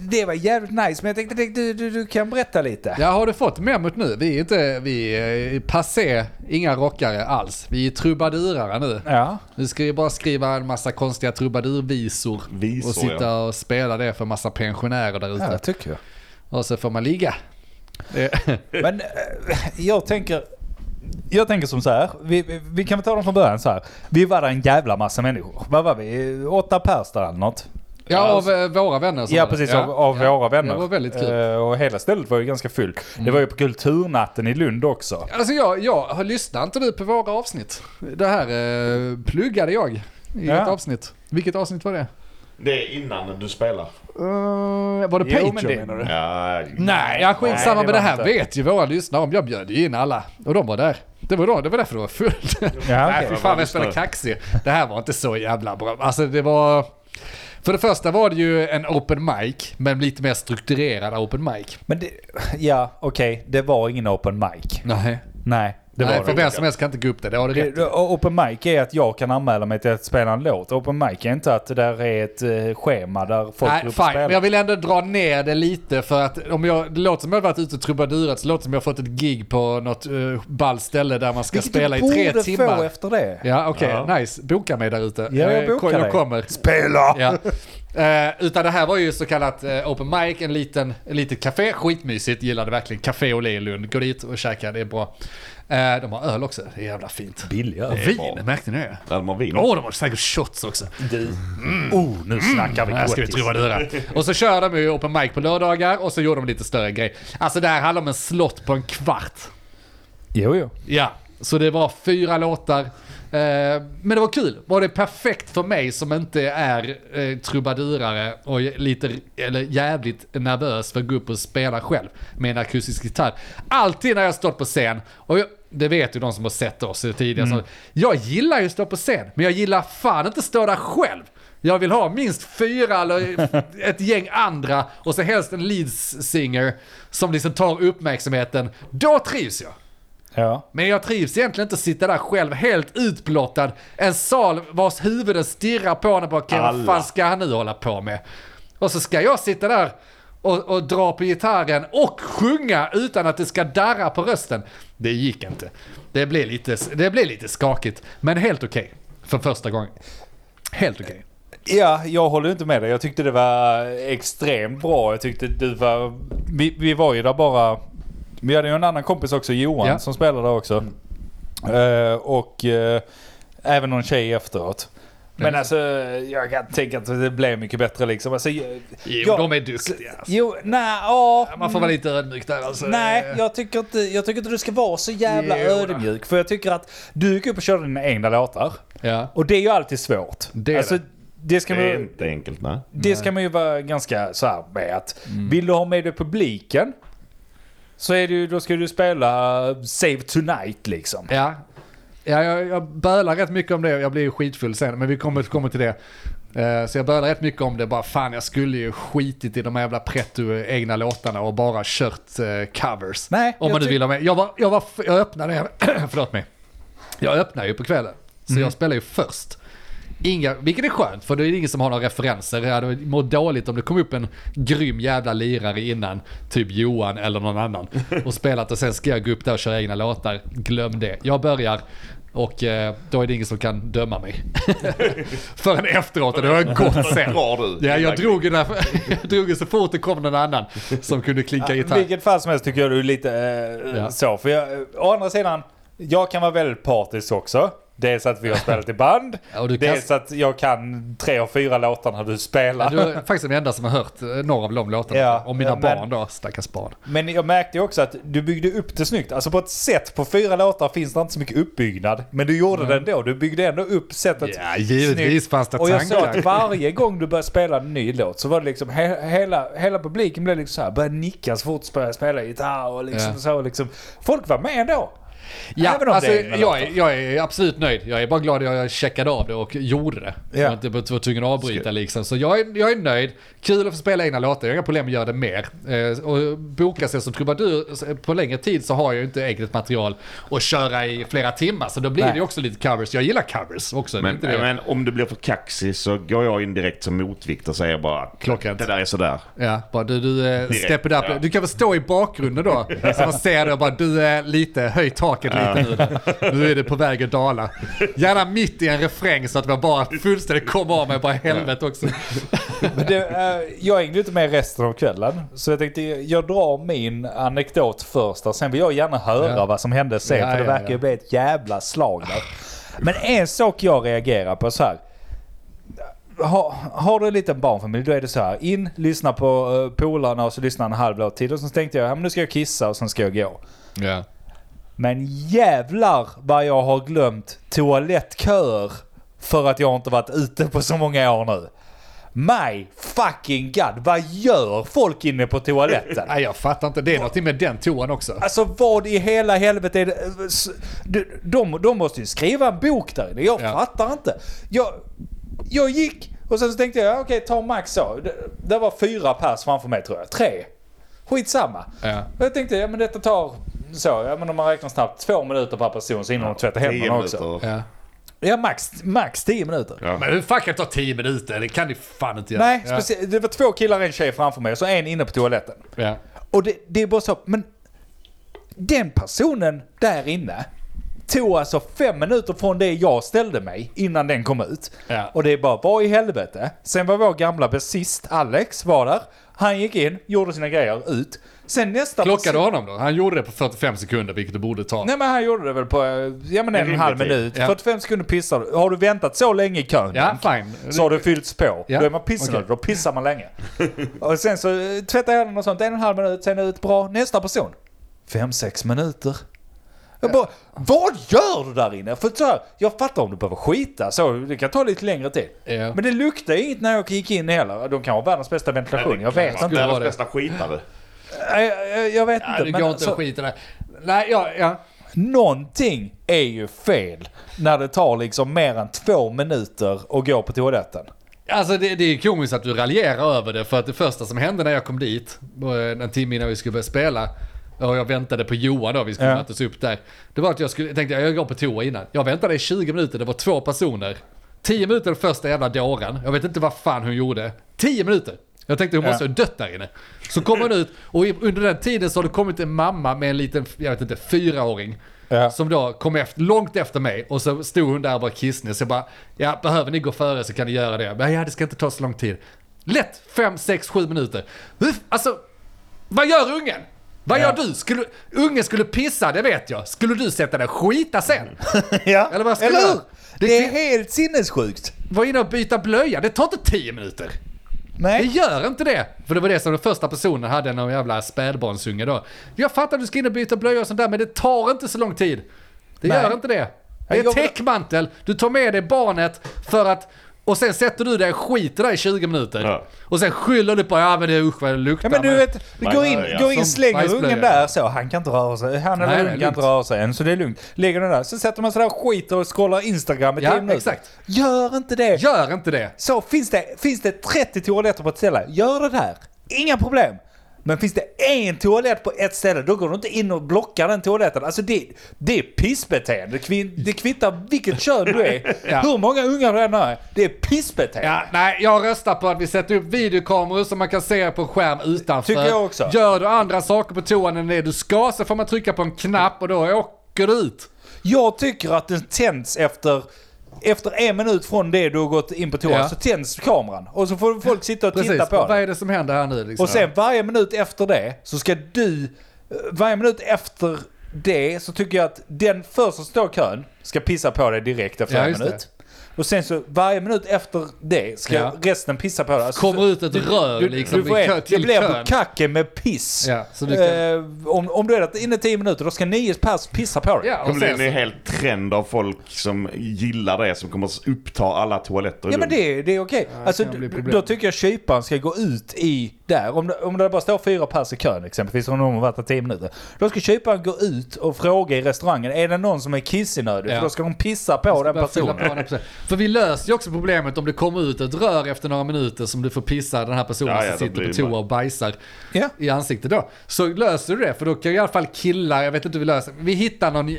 C: det var jävligt nice. Men jag tänkte du, du, du kan berätta lite.
A: Ja, har du fått memot nu? Vi är inte, vi är passé, inga rockare alls. Vi är trubadurare nu.
C: Ja.
A: Nu ska vi bara skriva en massa konstiga trubadurvisor.
E: Visor,
A: och sitta och spela det för massa pensionärer där ute.
C: tycker jag.
A: Och så får man ligga. Det-
C: Men eh, jag tänker, jag tänker som så här. Vi, vi- vi kan väl ta dem från början så här. Vi var där en jävla massa människor. Vad var vi? Åtta pers där eller något.
A: Ja, av eh, våra vänner. som
C: Alltså- Ja
A: var det.
C: precis,
A: Ja,
C: av, av
A: ja.
C: våra vänner.
A: Det var väldigt kul.
C: Eh, och hela stället var ju ganska fullt. Det var ju på kulturnatten i Lund också.
A: Alltså jag, jag har- lyssnar inte du på våra avsnitt? Det här eh, pluggade jag i
C: Ja.
A: ett avsnitt. Vilket avsnitt var det?
E: Det är innan du spelar.
A: Eh, var det
C: Uh, Jo,
A: Patreon
C: men det-
A: menar du?
E: Ja,
A: Nej, ja, skitsamma
C: Nej, det
A: men det
C: var
A: här
C: inte.
A: vet ju våra lyssnare om. Jag bjöd ju in alla och de var där. Det var, då, det var därför det var fullt.
C: Ja,
A: Nej,
C: okej.
A: fy fan
E: Vad
A: jag spelade
E: lyssnar.
A: kaxig. Det här var inte så jävla bra. Alltså det var... För det första var det ju en open mic, men lite mer strukturerad open mic.
C: Men det, ja, okej. Det var ingen open mic.
A: Nej.
C: Nej, det
A: Nej,
C: var
A: för
C: det.
A: vem som helst kan inte gå upp det, det har du rätt i.
C: Det- och Open mic är att jag kan anmäla mig till att spela en låt. Open mic är inte att det där är ett eh, schema där folk
A: Nej,
C: går upp och
A: fine.
C: spelar.
A: Men jag vill ändå dra ner det lite för att om jag, det låter som jag har varit ute och trubadurat så låter det som jag har fått ett gig på något uh, ball ställe där man ska
C: Vilket
A: spela i
C: du
A: tre
C: borde få
A: timmar.
C: efter det.
A: Ja, okej, nice. Boka mig där ute.
C: Ja, jag
A: Eh,
C: bokar
A: ko- jag
C: dig.
A: kommer.
C: Spela!
A: Ja. Eh, utan det här var ju så kallat eh, open mic, en liten, en litet café, skitmysigt, gillade verkligen Café Olé i Lund. Gå dit och käka, det är bra. Eh, de har öl också, det är jävla fint. Eh,
C: Billigare.
A: Vin, märkte ni det?
E: Där man vin.
A: Åh, de har säkert shots också.
C: Du. Oh, nu snackar vi
A: Här Mm. ska vi
C: gottis.
A: trubadura. Och så kör de ju open mic på lördagar och så gjorde de lite större grej. Alltså det här handlar om en slott på en kvart.
C: Jo, jo.
A: Ja, så det var fyra låtar. Eh, Men det var kul. Var det perfekt för mig som inte är eh, trubadurare och lite, eller jävligt nervös för att gå upp och spela själv med en akustisk gitarr. Alltid när jag stått på scen, och jag, det vet ju de som har sett oss tidigare, så, jag gillar ju att stå på scen, men jag gillar fan inte att stå där själv. Jag vill ha minst fyra eller [laughs] ett gäng andra och så helst en leads singer som liksom tar uppmärksamheten. Då trivs jag.
C: Ja.
A: Men jag trivs egentligen inte att sitta där själv helt utblottad. En sal vars huvuden stirrar på en och bara "Okej, vad
E: Alla.
A: fan ska han nu hålla på med? Och så ska jag sitta där och, och dra på gitarren och sjunga utan att det ska darra på rösten. Det gick inte. Det blev lite, det blev lite skakigt, men helt okej. För första gången. Helt okej.
C: Ja, jag håller inte med dig. Jag tyckte det var extremt bra. Jag tyckte du var... Vi, vi var ju där bara... Vi hade ju en annan kompis också, Johan,
A: Ja.
C: som spelade där också. Eh, och eh, även någon tjej efteråt. Men
A: Ja.
C: alltså, jag kan tänka att det blev mycket bättre liksom. Alltså, jag,
A: Jo,
C: jag-
A: de är duktiga. alltså.
C: Jo, nej, ja.
A: Man får vara lite ödmjuk där alltså.
C: Nej, jag tycker, inte, jag tycker inte du ska vara så jävla
A: Jo.
C: ödmjuk. För jag tycker att du gick upp och körde dina egna låtar.
A: Ja.
C: Och det är ju alltid svårt.
A: Det är
C: alltså,
A: det.
C: det ska
E: Det är
C: man,
E: inte enkelt, nej.
C: det ska man ju vara ganska så här med att
A: Mm.
C: vill du ha med dig publiken så är det ju, då ska du spela eh, Save Tonight liksom.
A: Ja, ja jag, jag bölar rätt mycket om det. Jag blir ju skitfull sen, men vi kommer, kommer till det. Eh, Så jag bölar rätt mycket om det. Bara fan, jag skulle ju skitit i de här jävla pretto-egna låtarna och bara kört eh, covers.
C: Nej,
A: om
C: jag
A: man nu
C: ty-
A: vill ha med. Jag, var, jag, var, jag öppnade, [clears throat] förlåt mig. Jag öppnar ju på kvällen. Så
C: Mm.
A: jag spelar ju först. Inga, vilket är skönt, för det är ingen som har några referenser. Jag hade mått dåligt om det kom upp en grym jävla lirare innan, typ Johan eller någon annan, och spelat och sen ska jag gå upp där och köra egna låtar. Glöm det. Jag börjar och eh, då är det ingen som kan döma mig. [laughs] Förrän efteråt, och det har gått sen.
E: Drar du?
A: Ja, jag drog, ju när, [laughs] jag drog ju så fort det kom någon annan som kunde klinka
C: I
A: gitarr.
C: vilket fall som helst tycker jag du är lite eh,
A: Ja.
C: så. För jag, å andra sidan, jag kan vara väldigt partisk också. Dels att vi har spelat i band.
A: [laughs] Ja, och du kan-
C: dels att jag kan tre av fyra låtar när du spelar.
A: Du är faktiskt den enda som har hört eh, några av de låtarna.
C: Ja,
A: och mina
C: men-
A: barn då, stackars barn.
C: Men jag märkte ju också att du byggde upp det snyggt. Alltså på ett sätt, på fyra låtar finns det inte så mycket uppbyggnad. Men du gjorde det ändå. Du byggde ändå upp sättet
A: Ja, givetvis fanns det
C: Och jag såg
A: tankar.
C: att varje gång du började spela en ny låt så var det liksom he- hela, hela publiken blev liksom så här, började nicka så fort du började spela gitarr och liksom
A: Ja.
C: så. Liksom. Folk var med ändå.
A: Ja,
C: Även om
A: alltså,
C: det är egna
A: jag, är,
C: låtar.
A: jag är absolut nöjd. Jag är bara glad att jag checkade av det och gjorde det.
C: Ja.
A: Jag var inte var tvungen att avbryta liksom. Så jag är, jag är nöjd. Kul att få spela egna låtar. Jag har inga problem att göra det mer. Eh, och boka sig som trubadur på längre tid så har jag ju inte eget material att köra i flera timmar. Så då blir
C: Nej.
A: det ju också lite covers. Jag gillar covers också. det är
E: Men, eh,
A: inte det.
E: men om du blir för kaxig så går jag in direkt som motvikt och säger bara
A: Klockrent.
E: det där är sådär.
A: Ja, bara du, du eh, step it up.
E: ja.
A: [laughs] Du kan väl stå i bakgrunden då. så man ser det och bara du är eh, lite höj taket lite nu. där. Nu är det på väg att dala. Gärna mitt i en refräng så att man bara fullständigt kommer av mig bara helvete också.
C: Men det, eh, jag hängde ju inte med resten av kvällen. Så jag tänkte jag drar min anekdot först. och Sen vill jag gärna höra
A: Ja.
C: vad som hände sen.
A: Ja,
C: för det
A: ja,
C: verkar ju
A: ja.
C: bli ett jävla slag där. Men en sak jag reagerar på så här. Har, har du en liten barnfamilj då är det så här. In, lyssna på uh, polarna och så lyssna en halv låt till. Och så tänkte jag ja, men nu ska jag kissa och sen ska jag gå.
A: Ja.
C: Men jävlar vad jag har glömt toalettköer för att jag inte varit ute på så många år nu. My fucking god, vad gör folk inne på toaletten?
A: Nej jag fattar inte, det är någonting med den toan också.
C: Alltså vad i hela helvete är det? eh, S- de- De, de måste ju skriva en bok där inne. Jag
A: Ja.
C: fattar inte. Jag, jag gick och sen så tänkte jag, ja, okej ta max så. Det, det var fyra pers framför mig tror jag. Tre. Skitsamma.
A: Ja.
C: Och jag tänkte, ja men detta tar så. Ja men om man räknar snabbt två minuter per person så hinner de tvätta händerna också.
A: Ja.
C: Ja max, max tio minuter.
E: Ja.
A: Men hur fan kan det ta 10 minuter? Det kan det fan inte göra.
C: Nej,
A: ja.
C: specie- det var två killar och en tjej framför mig och så en inne på toaletten.
A: Ja.
C: Och det, det är bara så, men den personen där inne tog alltså fem minuter från det jag ställde mig innan den kom ut.
A: Ja.
C: Och det är bara, vad i helvete? Sen var vår gamla basist Alex var där. Han gick in, gjorde sina grejer, ut. Sen nästa...
A: Klockade honom då? Han gjorde det på 45 sekunder, vilket det borde ta.
C: Nej men han gjorde det väl på, eh, ja men en, och en
E: rimlig
C: halv
E: tid.
C: minut.
A: typ. Ja.
C: 45 sekunder pissar du. Har du väntat så länge i kön?
A: Ja, fine.
C: Så har det fyllts på.
A: Ja,
C: Då är man pissnödig,
A: okej.
C: då pissar man länge. [laughs] och sen så eh, tvättar jag den och sånt, en och en halv minut, sen ut, bra. Nästa person. Fem, sex minuter. Jag bara, vad gör du där inne? För så här, jag fattar om du behöver skita så, det kan ta lite längre tid.
A: Ja.
C: Men det luktade inget när jag gick in heller. De kan ha världens bästa ventilation, jag vet inte.
A: det
E: Världens
A: var det.
E: bästa skitare.
C: Jag, jag, jag vet
A: Ja,
C: inte.
A: det
C: men
A: går inte
C: så-
A: att skita i det. Nej, ja, ja.
C: Någonting är ju fel när det tar liksom mer än två minuter att gå på toaletten.
A: Alltså det, det är komiskt att du raljerar över det för att det första som hände när jag kom dit, eh, en timme innan vi skulle börja spela, och jag väntade på Johan då, vi skulle
C: Ja.
A: mötas upp där. Det var att jag skulle, jag tänkte jag går på toa innan. Jag väntade i 20 minuter, det var två personer. 10 minuter den första jävla dåren, jag vet inte vad fan hon gjorde. 10 minuter! Jag tänkte hon måste
C: Ja.
A: ha dött där inne. Så kom hon ut och i- under den tiden så har det kommit en mamma med en liten, jag vet inte, fyraåring.
C: Ja.
A: Som då kom efter, långt efter mig och så stod hon där och var kissnödig. Så jag bara, ja behöver ni gå före så kan ni göra det. Men ja, det ska inte ta så lång tid. Lätt 5, 6, 7 minuter. Hur- Alltså, vad gör ungen? Vad
C: Ja.
A: gör du? Skulle, ungen skulle pissa, det vet jag. Skulle du sätta dig och skita
C: [laughs]
A: sen?
C: Ja.
A: Eller vad ska
C: Eller
A: jag-
C: hur? Det,
A: Det
C: är
A: kan-
C: helt sinnessjukt.
A: Var inne och byta blöja, det tar inte 10 minuter. Det
C: Nej.
A: gör inte det! För det var det som den första personen hade, någon jävla spädbarnsunge då. Jag fattar att du ska in och byta blöja och sånt där, men det tar inte så lång tid. Det
C: Nej.
A: gör inte det. Det
C: Jag
A: är
C: vill-
A: täckmantel, du tar med dig barnet för att... Och sen sätter du dig och skiter där i 20 minuter.
E: Ja.
A: Och sen skyller du på ja men det är usch vad det luktar.
C: Ja, men du
A: men-
C: vet, du
E: Man
C: går
E: gör
C: in,
E: det, ja.
C: går in
A: Som
C: slänger
A: bajsblöja.
C: ungen där så. Han kan inte röra sig. Han
A: Nej,
C: eller
A: nej,
C: hon kan
A: lugnt.
C: inte röra sig än, så det är lugnt. Lägger den där, så sätter man sig där och skiter och scrollar Instagram i
A: Ja,
C: tio minuter.
A: exakt.
C: Gör inte det.
A: Gör inte det!
C: Så finns det, finns det 30 toaletter på ett ställe, gör det där. Inga problem. Men finns det en toalett på ett ställe, då går du inte in och blockar den toaletten. Alltså det, det är pissbeteende. Kvin- Det kvittar vilket kön du är,
A: [laughs] Ja.
C: hur många ungar du än är. Det är pissbeteende.
A: Ja, nej, jag röstar på att vi sätter upp videokameror som man kan se på en skärm utanför.
C: Tycker jag också.
A: Gör du andra saker på toan än det du ska så får man trycka på en knapp och då åker du ut.
C: Jag tycker att den tänds efter, efter en minut från det du har gått in på toan,
A: Ja.
C: så tänds kameran. Och så får folk sitta och
A: Precis,
C: titta på
A: vad
C: den.
A: är det som händer här nu liksom?
C: Och sen varje minut efter det så ska du, eh, varje minut efter det så tycker jag att den först som står i kön ska pissa på dig direkt efter
A: Ja,
C: en
A: just det.
C: minut. Och sen så varje minut efter det ska
A: Ja.
C: resten pissa på dig. Alltså,
A: kommer
C: så-
A: ut ett rör
C: du,
A: liksom
C: du får
A: i kö,
C: ett, det
A: till
C: blir
A: kön.
C: på kacken med piss.
A: Ja, så du kan-
C: eh, om, om du är där inne 10 minuter då ska nio pers pissa på dig.
A: Ja,
E: Det
A: och
E: kommer
A: sen
E: bli en
A: så,
E: hel trend av folk som gillar det som kommer att uppta alla toaletter i
C: Ja men
E: Lund.
C: det, det är okej. alltså,
A: kan
C: d-
A: bli
C: d-
A: problem.
C: då tycker jag kyparen ska gå ut i där. Om det, om det bara står fyra pers i kön exempelvis, om de har varit där tio minuter. Då ska kyparen gå ut och fråga i restaurangen, är det någon som är kissnödig?
A: Ja.
C: För då ska de pissa på den
A: börja fylla
C: personen.
A: på den personen. För vi löser ju också problemet om det kommer ut ett rör efter några minuter som du får pissa den här personen
E: Ja,
A: som
E: ja, då
A: sitter
E: blir
A: på
E: det
A: toa
E: bara-
A: och bajsar
C: Ja.
A: i ansiktet då. Så löser du det, för då kan ju i alla fall killar, jag vet inte hur vi löser vi hittar någon... Eh,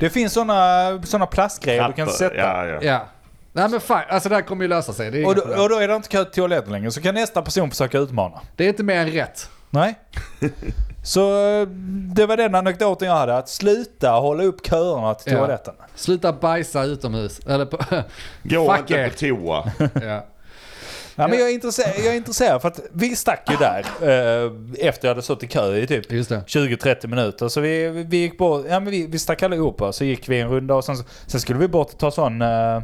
C: Det finns sådana såna plastgrejer du kan
E: Papper.
C: sätta.
E: Ja, ja.
A: Ja. Nej men fan, alltså det här kommer ju lösa sig. Det är,
C: Och
A: inga
C: då,
A: problem.
C: och då är det inte kö till toaletten längre, så kan nästa person försöka utmana.
E: [laughs]
A: det är inte mer än rätt.
C: Nej? Så eh, det var den anekdoten jag hade. Att sluta hålla upp köerna till
A: Ja.
C: toaletten.
A: Sluta bajsa utomhus. Eller på...
E: Gå
A: [laughs] Fuck
E: inte
A: er.
E: på toa.
A: [laughs] Ja.
C: Ja, men jag, är intresserad, jag är intresserad för att vi stack ju där eh, efter jag hade suttit i kö i typ
A: Just det.
C: 20-30 minuter. Så vi, vi gick bort, ja, men vi, vi stack allihopa så gick vi en runda och sen, sen skulle vi bort och ta sån eh,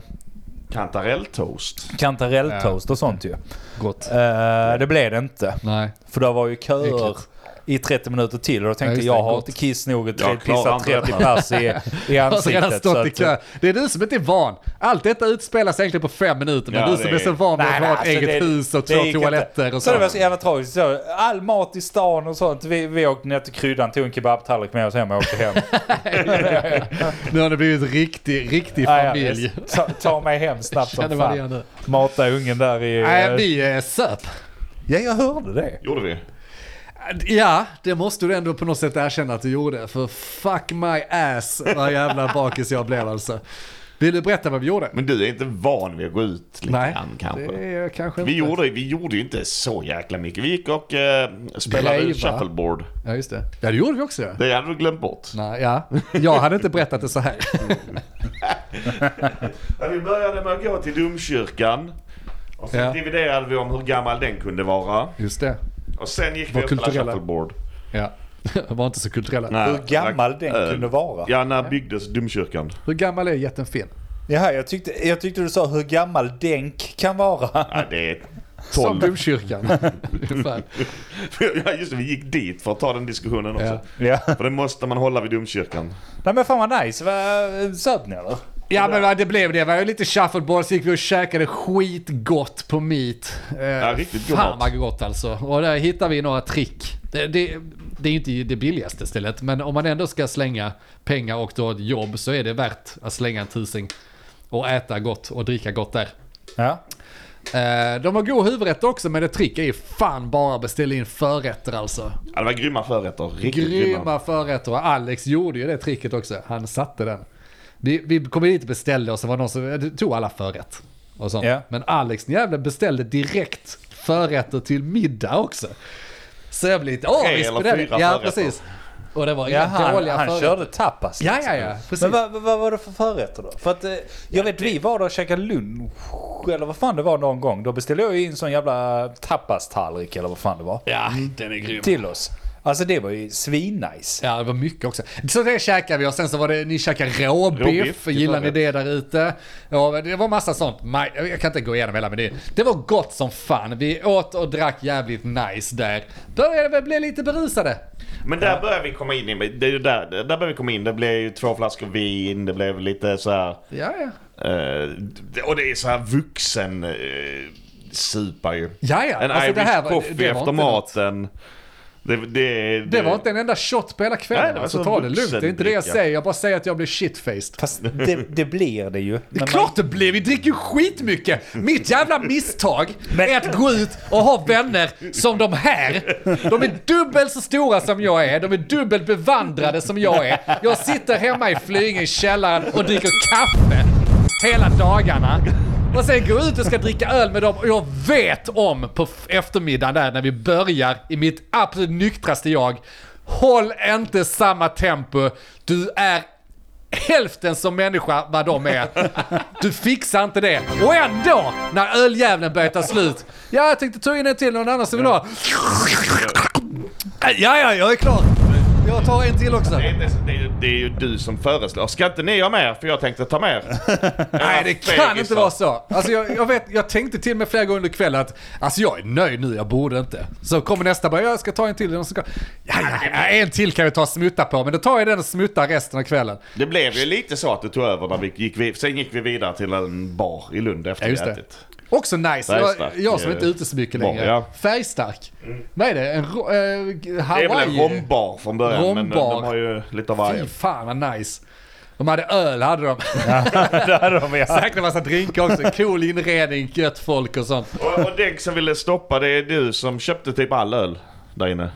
E: Kantarelltoast.
C: kantarelltoast och sånt ju.
A: Gott.
C: Eh, det blev det inte.
A: Nej.
C: För då var ju köer
A: Äckligt.
C: i 30 minuter till och då
A: Ja,
C: tänkte
A: just det,
C: jag har
A: gott.
C: inte kiss nog att
E: Jag klarar
C: pissa
E: inte
C: 30
E: detta.
C: pers i, i
A: Jag har redan
C: ansiktet. så
A: stått i
C: att- eh,
A: kö. eh, Det är du som inte är van. Allt detta utspelas egentligen på fem minuter. Men
E: Ja,
A: du som
E: det
A: är
E: är-
A: så van vid att ha ett
C: alltså
A: eget
C: det-
A: hus och
C: det
A: två
C: gick
A: toaletter
C: inte.
A: och
C: så. det var så
A: så.
C: jävla tragiskt. Så all mat i stan och sånt. Vi, vi åkte ner till kryddan, tog en kebabtallrik med oss hem och
A: [laughs]
C: åkte hem.
A: Nu har det blivit riktig, riktig
C: Ja, ja,
A: familj.
C: visst. ta, ta mig hem snabbt
A: Känner
C: som
A: man igen
C: fan.
A: nu.
C: Mata ungen där i... eh,
A: Nej, vi är söp.
C: Ja, jag hörde det.
E: Gjorde vi?
A: Ja, det måste du ändå på något sätt erkänna att du gjorde. För fuck my ass vad jävla bakis jag blev alltså. Vill du berätta vad vi gjorde?
E: Men du är inte van vid att gå ut lite grann kanske.
A: det är jag kanske inte.
E: Vi gjorde, vi gjorde ju inte så jäkla mycket. Vi gick och eh, spelade
A: Rejva.
E: shuffleboard.
A: Ja, just det. Ja, det gjorde vi också ja.
E: Det hade du glömt bort.
A: Nej, ja. Jag hade inte berättat det så här.
E: Ja, vi började med att gå till domkyrkan. Och sen
A: Ja.
E: dividerade vi om hur gammal den kunde vara.
A: Just det.
E: Och sen gick
A: Var
E: vi och spelade
A: kulturella.
E: shuffleboard.
A: Ja. [laughs] Var inte så kulturella.
E: Nej,
C: Hur gammal den
E: eh,
C: kunde vara.
E: Ja, när byggdes domkyrkan?
A: Hur gammal är jätten Finn?
C: Jaha, jag tyckte, jag tyckte du sa hur gammal denk kan vara.
E: Ja, det är
A: Som
E: 12.
A: domkyrkan. [laughs] Ungefär.
E: [laughs] ja, just det, vi gick dit för att ta den diskussionen också.
A: Ja.
C: Ja.
E: För det måste man hålla vid domkyrkan.
C: Nej men fan vad nice. Vad- Söp ni eller?
A: ja men vad det blev det. Det var ju lite shuffleboard så gick vi och käkade skitgott på meat.
E: Ja, riktigt god
A: Fan
E: mat.
A: vad gott alltså. Och där hittar vi några trick. Det, det, det är ju inte det billigaste stället, men om man ändå ska slänga pengar och då ett jobb så är det värt att slänga en tusing. Och äta gott och dricka gott där.
C: Ja.
A: Eh, de har god huvudrätt också, men ett trick är ju fan bara att beställa in förrätter alltså.
E: Ja, det var grymma förrätter. Riktigt grymma.
A: Grymma förrätter och Alex gjorde ju det tricket också. Han satte den. Vi, vi kom dit och beställde och så var det någon som det tog alla förrätt. Och sånt.
C: Ja.
A: Men Alex den jävla beställde direkt förrätter till middag också. Så jag blev lite, åh
E: Tre
A: visst
E: eller
A: det där-
E: fyra
A: Ja
E: förrätter.
A: precis. Och det var
C: Ja,
A: inga
C: han,
A: dåliga
C: han
A: förrätter.
C: körde tapas.
A: Ja,
C: liksom.
A: ja, ja. Precis.
C: Men vad, vad, vad var det för förrätter då? För att eh, jag vet vi var där och käkade lunch eller vad fan det var någon gång. Då beställde jag ju in sån jävla tapastallrik eller vad fan det var.
A: Ja, den är grym.
C: Till oss. Alltså det var ju svinnice.
A: Ja, det var mycket också. Så det käkade vi och sen så var det, ni käkade råbiff,
E: Råbiff,
A: gillar ni
E: det
A: det där ute? Ja, men det var massa sånt. Maj- Jag kan inte gå igenom hela menyn. Det var gott som fan. Vi åt och drack jävligt nice där. Började väl bli lite berusade.
E: Men där börjar vi komma in i, det är ju där, där börjar vi komma in. Det blev ju två flaskor vin, det blev lite så här.
A: Ja, ja.
E: eh, och det är så här vuxen eh, supa ju.
A: Ja, ja.
E: En
A: Alltså,
E: Irish
A: det här var-
E: coffee
A: det var
E: efter
A: inte något.
E: maten. Det, det, det,
A: Det var inte en enda shot på hela kvällen.
E: Nej, det var
A: alltså,
E: så
A: ta det lugnt. Det är inte det jag
E: vuxendricka.
A: säger. Jag bara säger att jag blev shitfaced.
C: Fast det, det blir det ju.
A: Det är
C: Men
A: klart det blev, vi dricker ju skitmycket! Mitt jävla misstag är att gå ut och ha vänner som de här. De är dubbelt så stora som jag är, de är dubbelt bevandrade som jag är. Jag sitter hemma i Flyinge i källaren och dricker kaffe hela dagarna. Och sen går jag ut och ska dricka öl med dem och jag vet om på f- eftermiddagen där när vi börjar i mitt absolut nyktraste jag. Håll inte samma tempo, du är hälften som människa vad de är. Du fixar inte det. Och ändå, när öljävlen börjar ta slut. Ja, jag tänkte ta in en till, någon annan som vill ha. Ja, ja, jag är klar. Jag tar en till också.
E: Det är, inte, det, är, det är ju du som föreslår. Ska inte ni ha mer? För jag tänkte ta mer.
A: Nej, det kan inte vara så. Alltså, jag, jag, vet, jag tänkte till mig flera gånger under kvällen att alltså, jag är nöjd nu, jag borde inte. Så kommer nästa bara, jag ska ta en till. Och så ska, ja, ja, ja, en till kan vi ta och smutta på, men då tar jag den och smuttar resten av kvällen.
E: Det blev ju lite så att du tog över när vi gick, vi- sen gick vi vidare till en bar i Lund efter
A: Ja, just
E: vi
A: det.
E: ätit.
A: Också nice. Jag,
E: Färgstark.
A: jag som inte är ute så mycket
E: Bra,
A: längre.
E: ja.
A: Färgstark. Vad är det? En ro- eh,
E: Det
A: Hawaii?
E: är väl en rombar från början men de
A: Rombar.
E: har ju lite av varje.
A: Fy fan vad nice. De hade öl, hade de. [laughs]
C: där har vi haft.
A: Säkert en massa drinkar också. Cool inredning, gött folk och sånt.
E: Och, och Denk som ville stoppa, det är du som köpte typ all öl där inne.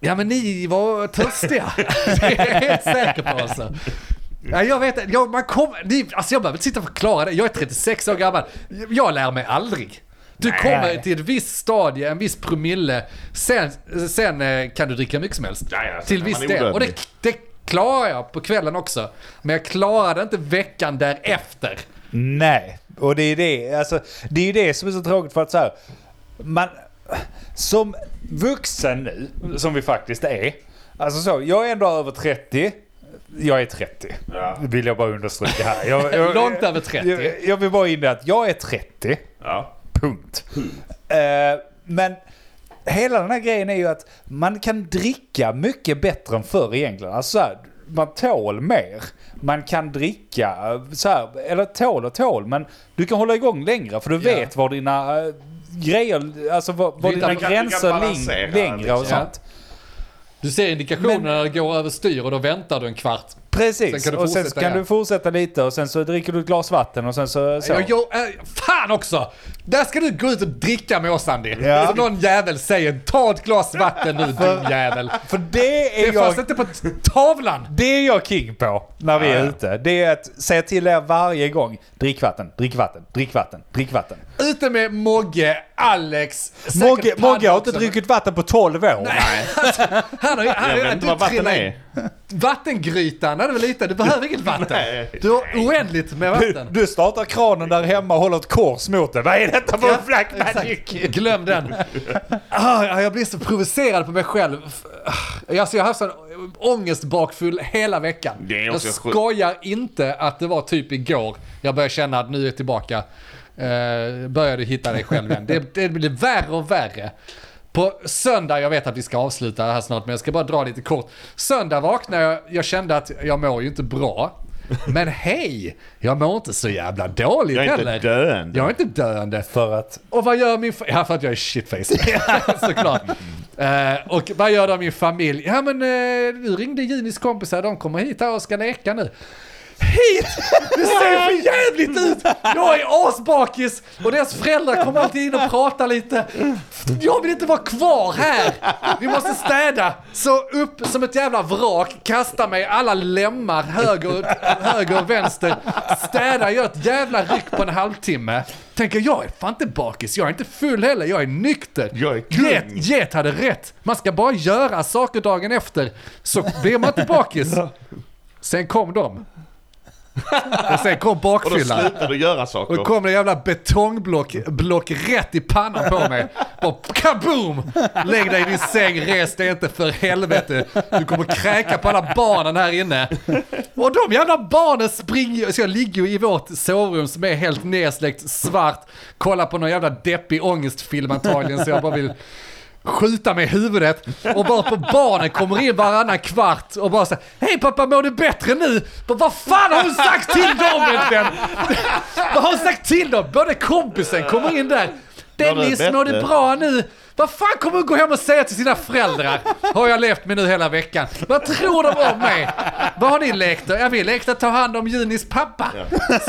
A: Ja men ni var törstiga. Det är jag helt säker på alltså. Ja, jag vet inte. jag, man kom, ni, alltså jag behöver inte sitta och förklara det. Jag är 36 år gammal. Jag lär mig aldrig. Du
C: Nej.
A: kommer till ett visst stadie, en viss promille, sen, sen eh, kan du dricka hur mycket som helst.
E: Ja, ja, sen
A: till
E: är
A: viss
E: man
A: del. Och det,
E: odödlig.
A: det klarar jag på kvällen också. Men jag klarade inte veckan därefter.
C: Nej, och det är det, alltså, det, är ju det som är så tråkigt för att så här, man, som vuxen nu, som vi faktiskt är, alltså så, jag är ändå över 30, jag är 30,
E: Ja.
C: vill jag bara understryka här. Jag, jag,
A: Långt över 30.
C: Jag, jag vill bara in i att jag är 30.
E: Ja.
C: Punkt. Eh, men hela den här grejen är ju att man kan dricka mycket bättre än förr egentligen. Alltså så här, man tål mer. Man kan dricka eh, så här, eller tål och tål, men du kan hålla igång längre för du
A: Ja.
C: vet var dina eh, grejer, alltså var, var
A: Du
C: dina
A: kan-
E: du kan
C: gränser
E: balansera,
C: ling, längre och
A: liksom.
C: sånt.
A: Du ser indikationerna när det går överstyr och då väntar du en kvart. Sen
C: Precis,
A: kan du
C: och sen
A: fortsätta,
C: kan
A: ja.
C: du fortsätta lite och sen så dricker du ett glas vatten och sen så... så.
A: Jag, jag, eh, fan också! Där ska du gå ut och dricka med oss Andy.
C: Ja.
A: Som någon jävel säger, ta ett glas vatten nu din jävel.
C: För det är
A: Det
C: jag...
A: fanns inte på tavlan.
C: Det är jag king på när vi är ute. Det är att säga till er varje gång. Drick vatten, drick vatten, drick vatten, drick vatten.
A: Ute med Mogge, Alex, säkert
C: Mogge,
A: Padda
C: Mogge har inte
A: också.
C: druckit vatten på 12 år.
A: Nej. Han har, han,
E: Jag vet
A: han,
E: inte
A: du
E: vad vatten
A: trillar i
E: är.
A: Vattengrytan när du var liten, du behöver inget vatten.
E: Nej.
A: Du har oändligt med
C: Du,
A: vatten.
C: du startar kranen där hemma och håller ett kors mot det. Vad är detta för
A: Ja,
C: black
A: exakt.
C: magic?
A: Glöm den. Ah, jag blir så provocerad på mig själv. Ah, Alltså, jag har haft sån ångest bakfull hela veckan.
E: Det är
A: Jag
E: också sjukt.
A: skojar inte att det var typ igår jag började känna att nu är jag tillbaka. Eh, började hitta dig själv igen. Det, det blir värre och värre. På söndag, jag vet att vi ska avsluta här snart men jag ska bara dra lite kort. Söndag vaknade jag, jag kände att jag mår ju inte bra. Men hej, jag mår inte så jävla dåligt
E: Jag är inte
A: heller.
E: döende.
A: Jag är inte döende.
C: För att...
A: Och vad gör min... fa- Ja, för att jag är shitface. [laughs] Såklart. Eh, och vad gör då min familj? Ja men eh, du ringde Junis kompisar, de kommer hit här och ska leka nu. Hit! Det ser för jävligt ut! Jag är asbakis och deras föräldrar kommer alltid in och pratar lite. Jag vill inte vara kvar här! Vi måste städa! Så upp som ett jävla vrak, kasta mig i alla lemmar höger, höger och vänster. Städa, gör ett jävla ryck på en halvtimme. Tänker jag är fan inte bakis, jag är inte full heller, jag är nykter.
E: Jag är kung.
A: Get, get hade rätt! Man ska bara göra saker dagen efter, så blir man inte bakis. Sen kom de. Och sen kom
E: Och då
A: bakfyllan.
E: slutar du göra
A: Och
E: saker.
A: då kom det jävla betongblock block rätt i pannan på mig. Bara kaboom! Lägg dig i din säng, res dig inte för helvete. Du kommer kräka på alla barnen här inne. Och de jävla barnen springer, så jag ligger ju i vårt sovrum som är helt nedsläckt, svart, kollar på någon jävla deppig ångestfilm antagligen så jag bara vill skjuta mig i huvudet och bara på barnen kommer in varannan kvart och bara säger Hej pappa mår du bättre nu? Bara, Vad fan har hon sagt till dem egentligen? [laughs] Vad har hon sagt till dem? Både kompisen kommer in där.
E: du
A: Dennis mår du
E: bättre?"
A: bra nu? Vad fan kommer hon gå hem och säga till sina föräldrar? Har jag levt med nu hela veckan. Vad tror de om mig? Vad har ni lekt då? Ja vi lekte att ta hand om Junis pappa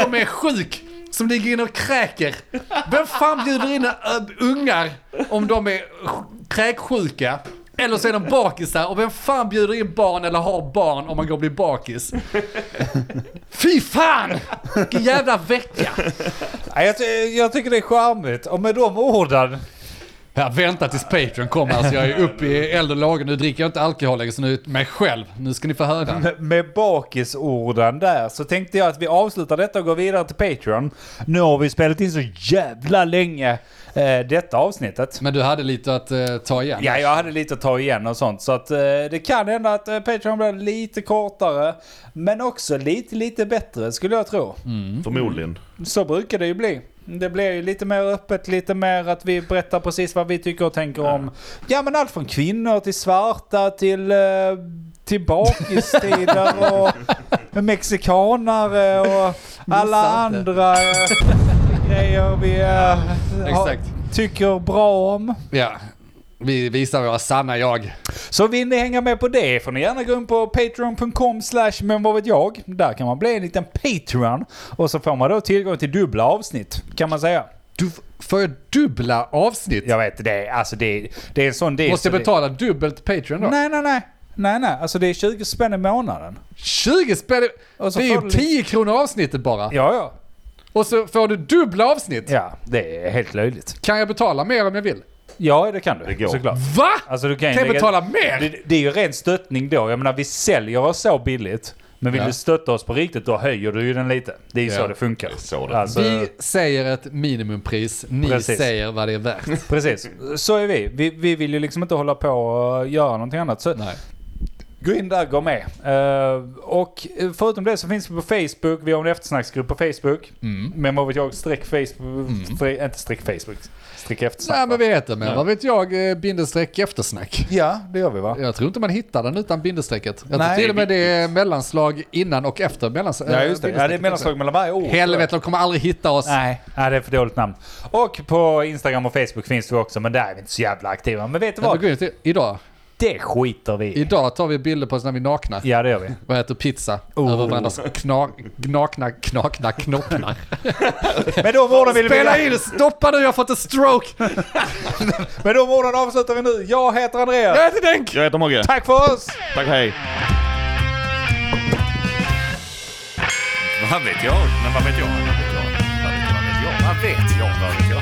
A: som är sjuk. Som ligger inne och kräker. Vem fan bjuder in ö, ungar om de är sj- kräksjuka? Eller så är de bakisar och vem fan bjuder in barn eller har barn om man går och blir bakis? Fy fan! Vilken jävla vecka!
C: Ja, Jag, ty- jag tycker det är charmigt. Och med de orden...
A: Jag väntar tills Patreon kommer, alltså jag är uppe i eld och lågor. Nu dricker jag inte alkohol längre, så nu är jag mig själv. Nu ska ni få höra.
C: Med- Med bakisorden där så tänkte jag att vi avslutar detta och går vidare till Patreon. Nu har vi spelat in så jävla länge eh, detta avsnittet.
A: Men du hade lite att eh, ta igen.
C: Ja, jag hade lite att ta igen och sånt. Så att eh, det kan hända att eh, Patreon blir lite kortare. Men också lite, lite bättre skulle jag tro.
E: Förmodligen.
C: Så brukar det ju bli. Det blir ju lite mer öppet, lite mer att vi berättar precis vad vi tycker och tänker om. Ja men allt från kvinnor till svarta till, eh, till bakistider [laughs] och mexikanare och alla
A: sant det.
C: andra eh, grejer vi eh, har-
A: Exakt.
C: tycker bra om.
A: Ja. Vi visar våra sanna jag.
C: Så vill ni hänga med på det får ni gärna gå in på patreon.com slash men vad vet jag. Där kan man bli en liten Patreon och så får man då tillgång till dubbla avsnitt kan man säga.
A: Du f- får jag dubbla avsnitt.
C: Jag vet, det är, alltså det är, det är en sån del.
A: Måste jag
C: så
A: betala dubbelt Patreon då?
C: Det, nej, nej, nej. Nej, nej. Alltså det är 20 spänn i månaden.
A: 20 spänn!
C: Och så
A: Det är
C: får
A: ju
C: du lite-
A: 10 kronor avsnittet bara.
C: Ja, ja.
A: Och så får du dubbla avsnitt.
C: Ja, det är helt löjligt.
A: Kan jag betala mer om jag vill?
C: Ja, det kan du.
E: går.
C: Såklart.
A: Va?
C: Alltså, du kan, ju
A: kan jag
C: lägga-
A: betala mer?
C: Det, det är ju ren stöttning då. Jag menar, vi säljer oss så billigt. Men vill
A: Ja.
C: du stötta oss på riktigt, då höjer du ju den lite. Det är ju
A: Ja.
C: så det funkar.
E: Så det-
C: Alltså,
A: Vi säger ett minimumpris, ni
C: Precis.
A: säger vad det är värt.
C: Precis, så är vi. vi. Vi vill ju liksom inte hålla på och göra någonting annat. Så
A: Nej.
C: Gå in där, gå med. Eh, och eh, förutom det så finns vi på Facebook. Vi har en eftersnacksgrupp på Facebook.
A: Mm.
C: Men vad vet jag, streck Facebook. Fre- inte streck Facebook. Streck eftersnack.
A: Nej men
C: va?
A: vi heter men vad vet jag, eh, bindestreck eftersnack.
C: Ja, det gör vi va?
A: Jag tror inte man hittar den utan bindestrecket. Jag tror
C: Nej,
A: till och med
C: det
A: det
C: är
A: är mellanslag innan och efter mellanslag. eh,
C: Ja, just det. Ja, det är mellanslag mellan varje ord.
A: Helvete, de kommer aldrig hitta oss.
C: Nej, nej, det är för dåligt namn. Och på Instagram och Facebook finns vi också, men där är vi inte så jävla aktiva. Men vet
A: Ja,
C: du
A: men
C: vad?
A: gå in till, idag.
C: Det skiter vi i.
A: idag tar vi bilder på oss när vi är nakna.
C: Ja, det gör vi.
A: Och äter pizza
C: Oh.
A: över varandras kna- knakna, knakna
C: [laughs]
A: knoppar.
C: Med de orden vill vi...
A: Spela in! Stoppa nu, jag har fått en stroke!
C: Med de orden avslutar vi nu. Jag heter Andreas.
A: Jag äter denk!
E: Jag heter Mogge.
C: Tack för oss!
E: Tack, hej.
D: Vad vet jag? Men vad vet jag? Vad vet jag? Vad vet jag?